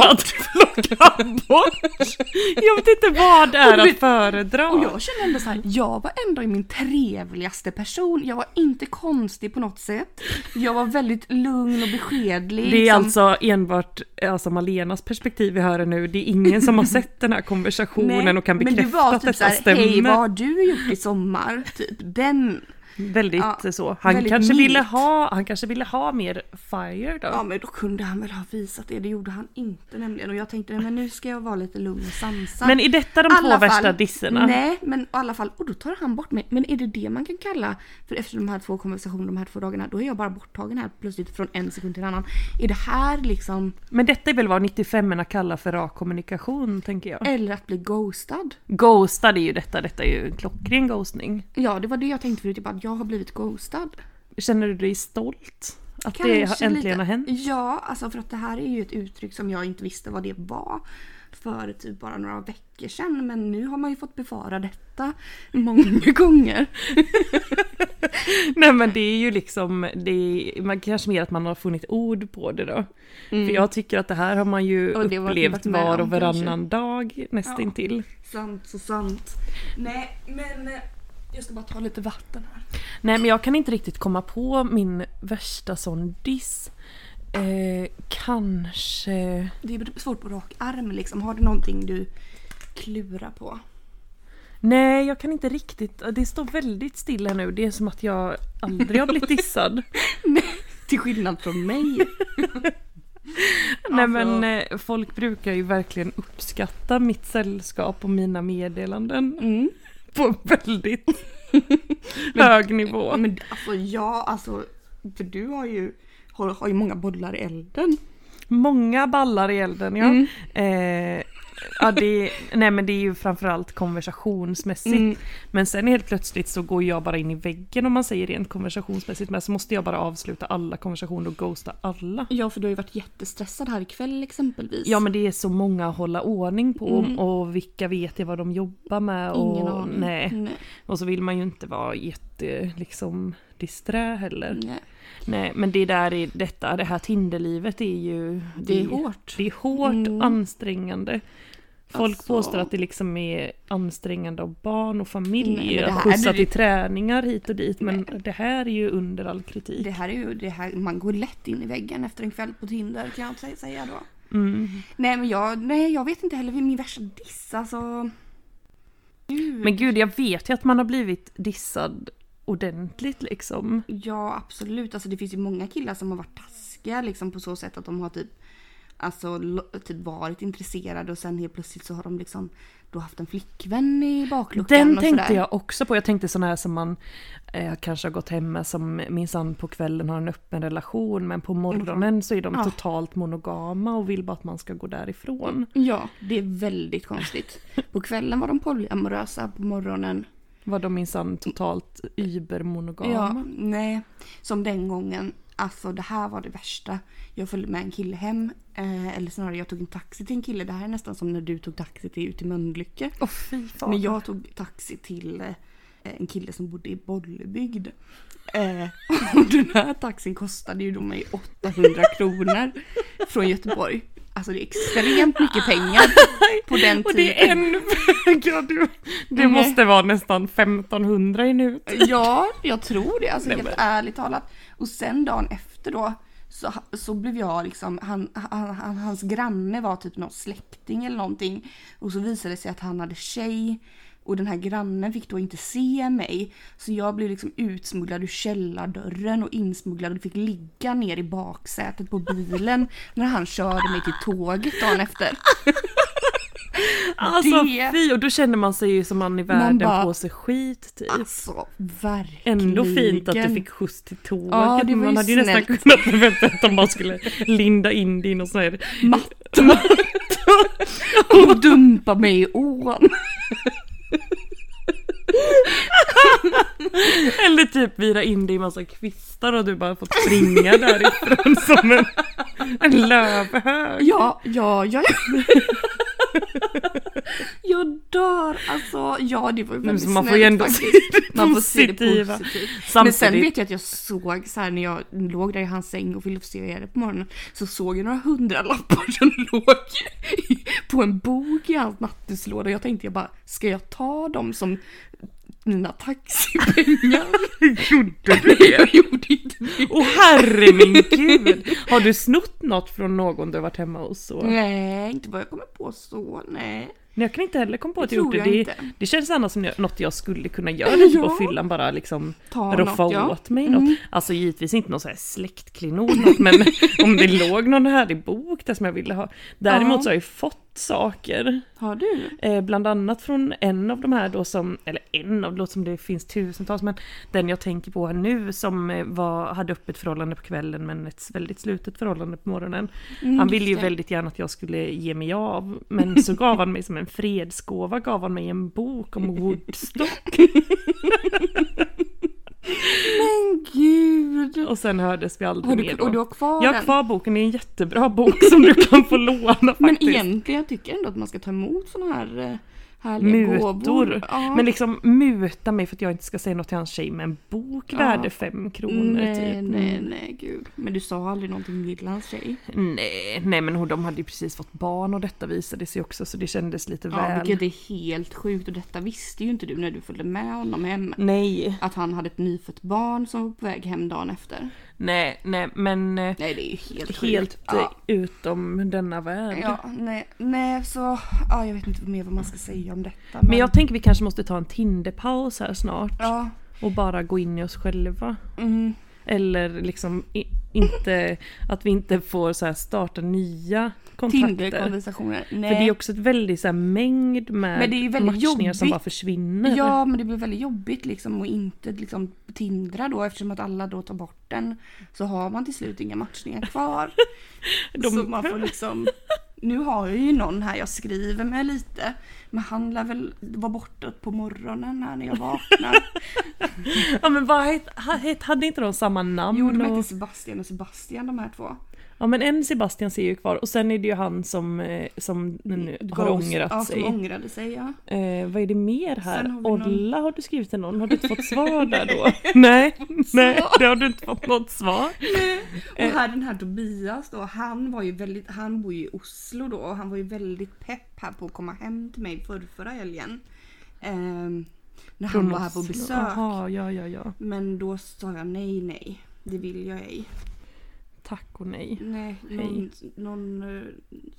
[SPEAKER 2] tar
[SPEAKER 1] plockar bort. Jag vet inte vad
[SPEAKER 2] Och
[SPEAKER 1] är
[SPEAKER 2] du
[SPEAKER 1] att
[SPEAKER 2] vet-
[SPEAKER 1] föredra.
[SPEAKER 2] Och jag känner ändå så här, jag var ändå i min trevligaste person. Jag var inte konstig på något sätt. Jag var väldigt lugn och beskedlig.
[SPEAKER 1] Det är
[SPEAKER 2] liksom.
[SPEAKER 1] alltså enbart alltså Malenas perspektiv vi hör nu. Det är ingen som har sett den här konversationen och kan bekräfta
[SPEAKER 2] men det var typ
[SPEAKER 1] att detta
[SPEAKER 2] så här, Hej
[SPEAKER 1] stämmer.
[SPEAKER 2] vad har du gjort i sommar? Typ den
[SPEAKER 1] Väldigt eh,
[SPEAKER 2] Ja,
[SPEAKER 1] så. Han,
[SPEAKER 2] väldigt
[SPEAKER 1] kanske ville
[SPEAKER 2] milt.
[SPEAKER 1] ha, han kanske ville ha mer fire då.
[SPEAKER 2] Ja men då kunde han väl ha visat det, det gjorde han inte nämligen. Och jag tänkte nej, men nu ska jag vara lite lugn och sansad.
[SPEAKER 1] Men är detta de två
[SPEAKER 2] Alla
[SPEAKER 1] värsta
[SPEAKER 2] fall-
[SPEAKER 1] disserna?
[SPEAKER 2] Nej men i alla fall, och då tar han bort mig. Men är det det man kan kalla, för efter de här två konversationerna de här två dagarna, då är jag bara borttagen här plötsligt från en sekund till en annan. Är det här liksom,
[SPEAKER 1] Men detta är väl vad 95orna kallar för rak kommunikation tänker jag.
[SPEAKER 2] eller att bli ghostad?
[SPEAKER 1] Ghostad är ju detta, detta är ju en klockren ghostning.
[SPEAKER 2] Ja det var det jag tänkte förut, jag bara jag har blivit ghostad.
[SPEAKER 1] Känner du dig stolt? Att det har
[SPEAKER 2] Kanske
[SPEAKER 1] äntligen
[SPEAKER 2] lite-
[SPEAKER 1] har hänt?
[SPEAKER 2] Ja, alltså för att det här är ju ett uttryck som jag inte visste vad det var för typ bara några veckor sedan men nu har man ju fått bevara detta många gånger.
[SPEAKER 1] Nej men det är ju liksom, det är, man kanske mer att man har funnit ord på det då. För jag tycker att det här har man ju
[SPEAKER 2] Och Mm. det har
[SPEAKER 1] upplevt
[SPEAKER 2] varit med
[SPEAKER 1] var
[SPEAKER 2] om,
[SPEAKER 1] och varannan dag nästintill.
[SPEAKER 2] Sant så sant. Nej men eh, jag ska bara ta lite vatten här.
[SPEAKER 1] Nej men jag kan inte riktigt komma på min värsta sån diss. Eh, kanske...
[SPEAKER 2] Det är svårt på rak arm liksom. Har du någonting du klurar på?
[SPEAKER 1] Nej, jag kan inte riktigt. Det står väldigt stilla nu. Det är som att jag aldrig har blivit dissad.
[SPEAKER 2] Till skillnad från mig.
[SPEAKER 1] Nej
[SPEAKER 2] Alltså-
[SPEAKER 1] men eh, folk brukar ju verkligen uppskatta mitt sällskap och mina meddelanden
[SPEAKER 2] Mm.
[SPEAKER 1] på en väldigt hög nivå.
[SPEAKER 2] Men alltså jag, alltså för du har ju, har, har ju många bollar i elden.
[SPEAKER 1] Många ballar i elden ja.
[SPEAKER 2] Mm.
[SPEAKER 1] Eh, ja det, nej men det är ju framförallt konversationsmässigt.
[SPEAKER 2] Mm.
[SPEAKER 1] Men sen helt plötsligt så går jag bara in i väggen om man säger rent konversationsmässigt. Men så måste jag bara avsluta alla konversationer och ghosta alla.
[SPEAKER 2] Ja för du har ju varit jättestressad här ikväll exempelvis.
[SPEAKER 1] Ja men det är så många att hålla ordning på och vilka vet jag vad de jobbar med och
[SPEAKER 2] Mm. Ingen aning.
[SPEAKER 1] Nej.
[SPEAKER 2] Nej.
[SPEAKER 1] Och så vill man ju inte vara jätte liksom disträ heller.
[SPEAKER 2] Nej.
[SPEAKER 1] Nej men det där är detta, det här Tinderlivet är ju
[SPEAKER 2] Det är hårt.
[SPEAKER 1] Det är hårt
[SPEAKER 2] Mm.
[SPEAKER 1] ansträngande. Folk
[SPEAKER 2] Alltså.
[SPEAKER 1] påstår att det liksom är ansträngande av barn och familj,
[SPEAKER 2] Nej, men det
[SPEAKER 1] att
[SPEAKER 2] här-
[SPEAKER 1] skjutsa
[SPEAKER 2] det-
[SPEAKER 1] till träningar hit och dit men det här är ju under all kritik.
[SPEAKER 2] Det här är ju, det här, man går lätt in i väggen efter en kväll på Tinder kan jag inte sä- säga då.
[SPEAKER 1] Mm.
[SPEAKER 2] Nej men jag, nej jag vet inte heller, min värsta diss alltså. Gud.
[SPEAKER 1] Men gud jag vet ju att man har blivit dissad ordentligt liksom.
[SPEAKER 2] Ja absolut, alltså det finns ju många killar som har varit taskiga liksom på så sätt att de har typ Alltså lo- typ varit intresserade och sen helt plötsligt så har de liksom då haft en flickvän i bakluckan
[SPEAKER 1] Den
[SPEAKER 2] och
[SPEAKER 1] tänkte
[SPEAKER 2] sådär.
[SPEAKER 1] jag också på. Jag tänkte sådana här som man eh, kanske har gått hem med som minsann på kvällen har en öppen relation men på morgonen så är de
[SPEAKER 2] Mm. Ja.
[SPEAKER 1] totalt monogama och vill bara att man ska gå därifrån.
[SPEAKER 2] Ja, det är väldigt konstigt. På kvällen var de polyamorösa, på morgonen
[SPEAKER 1] Var de minsann totalt übermonogama.
[SPEAKER 2] Ja, nej. Som den gången Alltså det här var det värsta. Jag följde med en kille hem. Eh, eller snarare jag tog en taxi till en kille. Det här är nästan som när du tog taxi till ut i Mölnlycke. Men jag tog taxi till eh, en kille som bodde i Bollebygd. Eh, och den här taxin kostade ju då mig 800 kronor från Göteborg. Alltså det är extremt mycket pengar på den tiden.
[SPEAKER 1] Och det är en väga. Du, det
[SPEAKER 2] typ. Nej.
[SPEAKER 1] måste vara nästan 1500 i nu.
[SPEAKER 2] Ja, jag tror det. Alltså,
[SPEAKER 1] Nej,
[SPEAKER 2] helt ärligt talat. Och sen dagen efter då så, så blev jag liksom, han, han, han, hans granne var typ någon släkting eller någonting. Och så visade det sig att han hade tjej. Och den här grannen fick då inte se mig. Så jag blev liksom utsmugglad ur källardörren och insmugglad och fick ligga ner i baksätet på bilen när han körde mig till tåget dagen efter.
[SPEAKER 1] Alltså
[SPEAKER 2] Det-
[SPEAKER 1] fy, och då känner man sig ju som man i världen
[SPEAKER 2] bara-
[SPEAKER 1] på sig skit typ.
[SPEAKER 2] Alltså verkligen.
[SPEAKER 1] Ändå fint att du fick skjuts till tåget.
[SPEAKER 2] Ja, det var
[SPEAKER 1] man
[SPEAKER 2] ju
[SPEAKER 1] hade ju nästan
[SPEAKER 2] snällt.
[SPEAKER 1] kunnat förvänta sig att de bara skulle linda in dig i någon sån här
[SPEAKER 2] matta och dumpa mig i ån.
[SPEAKER 1] Eller typ vira in dig i massa kvistar och du bara fått springa därifrån som en, en lövhög.
[SPEAKER 2] Ja, ja, ja. Jag dör alltså. Ja, det var ju väldigt
[SPEAKER 1] så man får
[SPEAKER 2] snällt
[SPEAKER 1] ju ändå
[SPEAKER 2] faktiskt.
[SPEAKER 1] se det
[SPEAKER 2] Man får se det
[SPEAKER 1] positiva.
[SPEAKER 2] positivt. Men
[SPEAKER 1] Samtidigt,
[SPEAKER 2] sen vet jag att jag såg så här när jag låg där i hans säng och ville observera det på morgonen så såg jag några hundralappar som låg i- på en bok i hans nattduslåda. Jag tänkte jag bara, ska jag ta dem som mina taxipengar? gjorde du det? Jag gjorde inte det.
[SPEAKER 1] Åh herre min gud! Har du snott något från någon du har varit hemma hos? Så?
[SPEAKER 2] Nej, inte vad jag kommer på så, nej.
[SPEAKER 1] Nej, jag kan inte heller komma på att
[SPEAKER 2] Det
[SPEAKER 1] jag gjort
[SPEAKER 2] tror
[SPEAKER 1] det.
[SPEAKER 2] jag
[SPEAKER 1] Det,
[SPEAKER 2] inte.
[SPEAKER 1] det känns annars som något jag skulle kunna göra lite på
[SPEAKER 2] Ja.
[SPEAKER 1] fyllan bara liksom
[SPEAKER 2] Ta
[SPEAKER 1] roffa
[SPEAKER 2] något, ja. Mm.
[SPEAKER 1] åt mig något. Alltså givetvis inte någon så här släktklenod något, men om det låg någon härlig bok där som jag ville ha. Däremot
[SPEAKER 2] Ja.
[SPEAKER 1] så har jag ju fått saker.
[SPEAKER 2] Har du?
[SPEAKER 1] Eh, bland annat från en av de här då som, eller en av, det låter som det finns tusentals men den jag tänker på här nu som eh, var, hade öppet förhållande på kvällen men ett väldigt slutet förhållande på morgonen. han ville ju
[SPEAKER 2] Mm, det.
[SPEAKER 1] väldigt gärna att jag skulle ge mig av men så gav han mig som en fredsgåva gav han mig en bok om Woodstock
[SPEAKER 2] Men gud!
[SPEAKER 1] och sen hördes vi aldrig
[SPEAKER 2] Har
[SPEAKER 1] mer
[SPEAKER 2] du,
[SPEAKER 1] då.
[SPEAKER 2] och du har kvar
[SPEAKER 1] jag har
[SPEAKER 2] den?
[SPEAKER 1] kvar boken, det är en jättebra bok som du kan få låna faktiskt.
[SPEAKER 2] Men egentligen jag tycker jag ändå att man ska ta emot såna här eh, härliga gåvor.
[SPEAKER 1] Mutor.
[SPEAKER 2] Ja.
[SPEAKER 1] Men liksom muta mig för att jag inte ska säga något till hans tjej med en bok
[SPEAKER 2] Ja.
[SPEAKER 1] värde fem kronor
[SPEAKER 2] nej,
[SPEAKER 1] typ.
[SPEAKER 2] nej, nej, gud. Men du sa aldrig någonting till hans tjej?
[SPEAKER 1] Nej, nej men hon- de hade ju precis fått barn och detta visade sig också så det kändes lite
[SPEAKER 2] Ja,
[SPEAKER 1] väl.
[SPEAKER 2] vilket är helt sjukt och detta visste ju inte du när du följde med honom hem.
[SPEAKER 1] Nej,
[SPEAKER 2] Att han hade ett nyfött barn som var på väg hem dagen efter.
[SPEAKER 1] nej, nej men eh,
[SPEAKER 2] Nej, det är ju helt
[SPEAKER 1] helt
[SPEAKER 2] sjukt.
[SPEAKER 1] eh,
[SPEAKER 2] Ja.
[SPEAKER 1] utom denna värld.
[SPEAKER 2] Ja, nej, nej så, ja, jag vet inte mer vad man ska säga om detta.
[SPEAKER 1] Men jag tänker vi kanske måste ta en Tinderpaus här snart
[SPEAKER 2] Ja,
[SPEAKER 1] och bara gå in i oss själva.
[SPEAKER 2] mm.
[SPEAKER 1] Eller liksom i, inte, att vi inte får så här starta nya kontakter.
[SPEAKER 2] Tinder-konversationer.
[SPEAKER 1] För det är också ett väldigt så här mängd med
[SPEAKER 2] Men det är ju väldigt
[SPEAKER 1] matchningar som
[SPEAKER 2] jobbigt.
[SPEAKER 1] bara försvinner.
[SPEAKER 2] Ja men det blir väldigt jobbigt liksom att inte liksom tindra då eftersom att alla då tar bort den. Så har man till slut inga matchningar kvar.
[SPEAKER 1] De-
[SPEAKER 2] Så man får liksom, nu har jag ju någon här jag skriver med lite. Men han lär väl vara borta på morgonen här när jag vaknar.
[SPEAKER 1] ja men vad het, ha- het, hade inte de samma namn?
[SPEAKER 2] Jo de
[SPEAKER 1] och-
[SPEAKER 2] heter Sebastian och Sebastian de här två.
[SPEAKER 1] Ja men en Sebastian ser ju kvar och sen är det ju han som, eh, som nu har
[SPEAKER 2] Ghost-
[SPEAKER 1] ångrat
[SPEAKER 2] ja,
[SPEAKER 1] sig.
[SPEAKER 2] som ångrade sig ja.
[SPEAKER 1] Eh, vad är det mer här?
[SPEAKER 2] Sen har vi någon-
[SPEAKER 1] Olla har du skrivit till någon? Har du inte fått svar där då? nej, nej, det har du inte fått något svar. Eh.
[SPEAKER 2] Och här den här Tobias då, han var ju väldigt, han bor ju i Oslo då och han var ju väldigt pepp här på att komma hem till mig förr, förra helgen. Ehm, när han var här på besök.
[SPEAKER 1] Jaha, ja ja ja.
[SPEAKER 2] Men då sa jag nej nej, det vill jag ej.
[SPEAKER 1] Tack och nej.
[SPEAKER 2] Nej, någon,
[SPEAKER 1] Hej.
[SPEAKER 2] någon eh,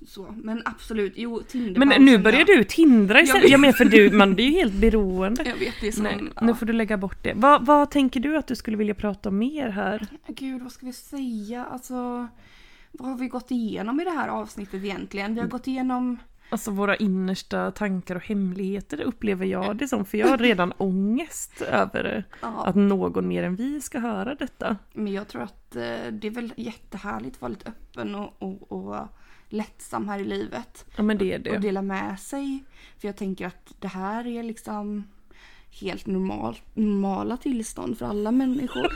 [SPEAKER 2] så. Men absolut, jo Tinder.
[SPEAKER 1] Men nu börjar du tindra istället.
[SPEAKER 2] vet.
[SPEAKER 1] Jag menar för du, man blir ju helt beroende.
[SPEAKER 2] Jag vet det är
[SPEAKER 1] Nej,
[SPEAKER 2] sån...
[SPEAKER 1] nu
[SPEAKER 2] Ja.
[SPEAKER 1] får du lägga bort det. Vad, vad tänker du att du skulle vilja prata om mer här?
[SPEAKER 2] Gud vad ska vi säga? Alltså, vad har vi gått igenom i det här avsnittet egentligen? Vi har
[SPEAKER 1] Mm.
[SPEAKER 2] gått igenom
[SPEAKER 1] Alltså våra innersta tankar och hemligheter upplever jag det som, för jag har redan ångest över det.
[SPEAKER 2] ja,
[SPEAKER 1] Att någon mer än vi ska höra detta.
[SPEAKER 2] Men jag tror att eh, det är väl jättehärligt att vara lite öppen och, och, och lättsam här i livet.
[SPEAKER 1] Ja men det är
[SPEAKER 2] Och
[SPEAKER 1] det.
[SPEAKER 2] dela med sig. För jag tänker att det här är liksom helt normal, normala tillstånd för alla människor.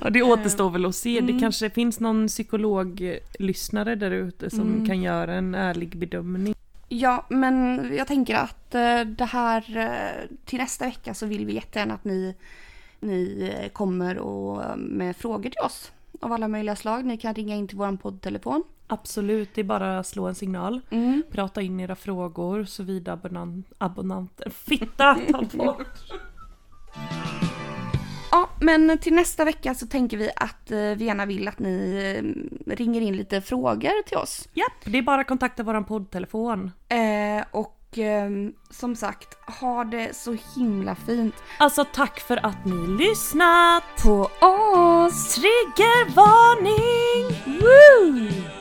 [SPEAKER 1] Ja, det återstår väl att se. Det kanske finns någon psykologlyssnare där ute som kan göra en ärlig bedömning.
[SPEAKER 2] Ja, men jag tänker att eh, det här eh, till nästa vecka så vill vi jättegärna att ni, ni eh, kommer och, eh, med frågor till oss av alla möjliga slag. Ni kan ringa in till vår poddtelefon.
[SPEAKER 1] Absolut, det är bara att slå en signal. Prata in era frågor såvida abonnan- abonnanter... Fitta! Ta bort!
[SPEAKER 2] Ja, men till nästa vecka så tänker vi att eh, vi gärna vill att ni eh, ringer in lite frågor till oss.
[SPEAKER 1] Japp, det är bara att kontakta våran poddtelefon.
[SPEAKER 2] Eh, och eh, som sagt, ha det så himla fint
[SPEAKER 1] Alltså tack för att ni lyssnat!
[SPEAKER 2] på oss!
[SPEAKER 1] Triggervarning! Woo!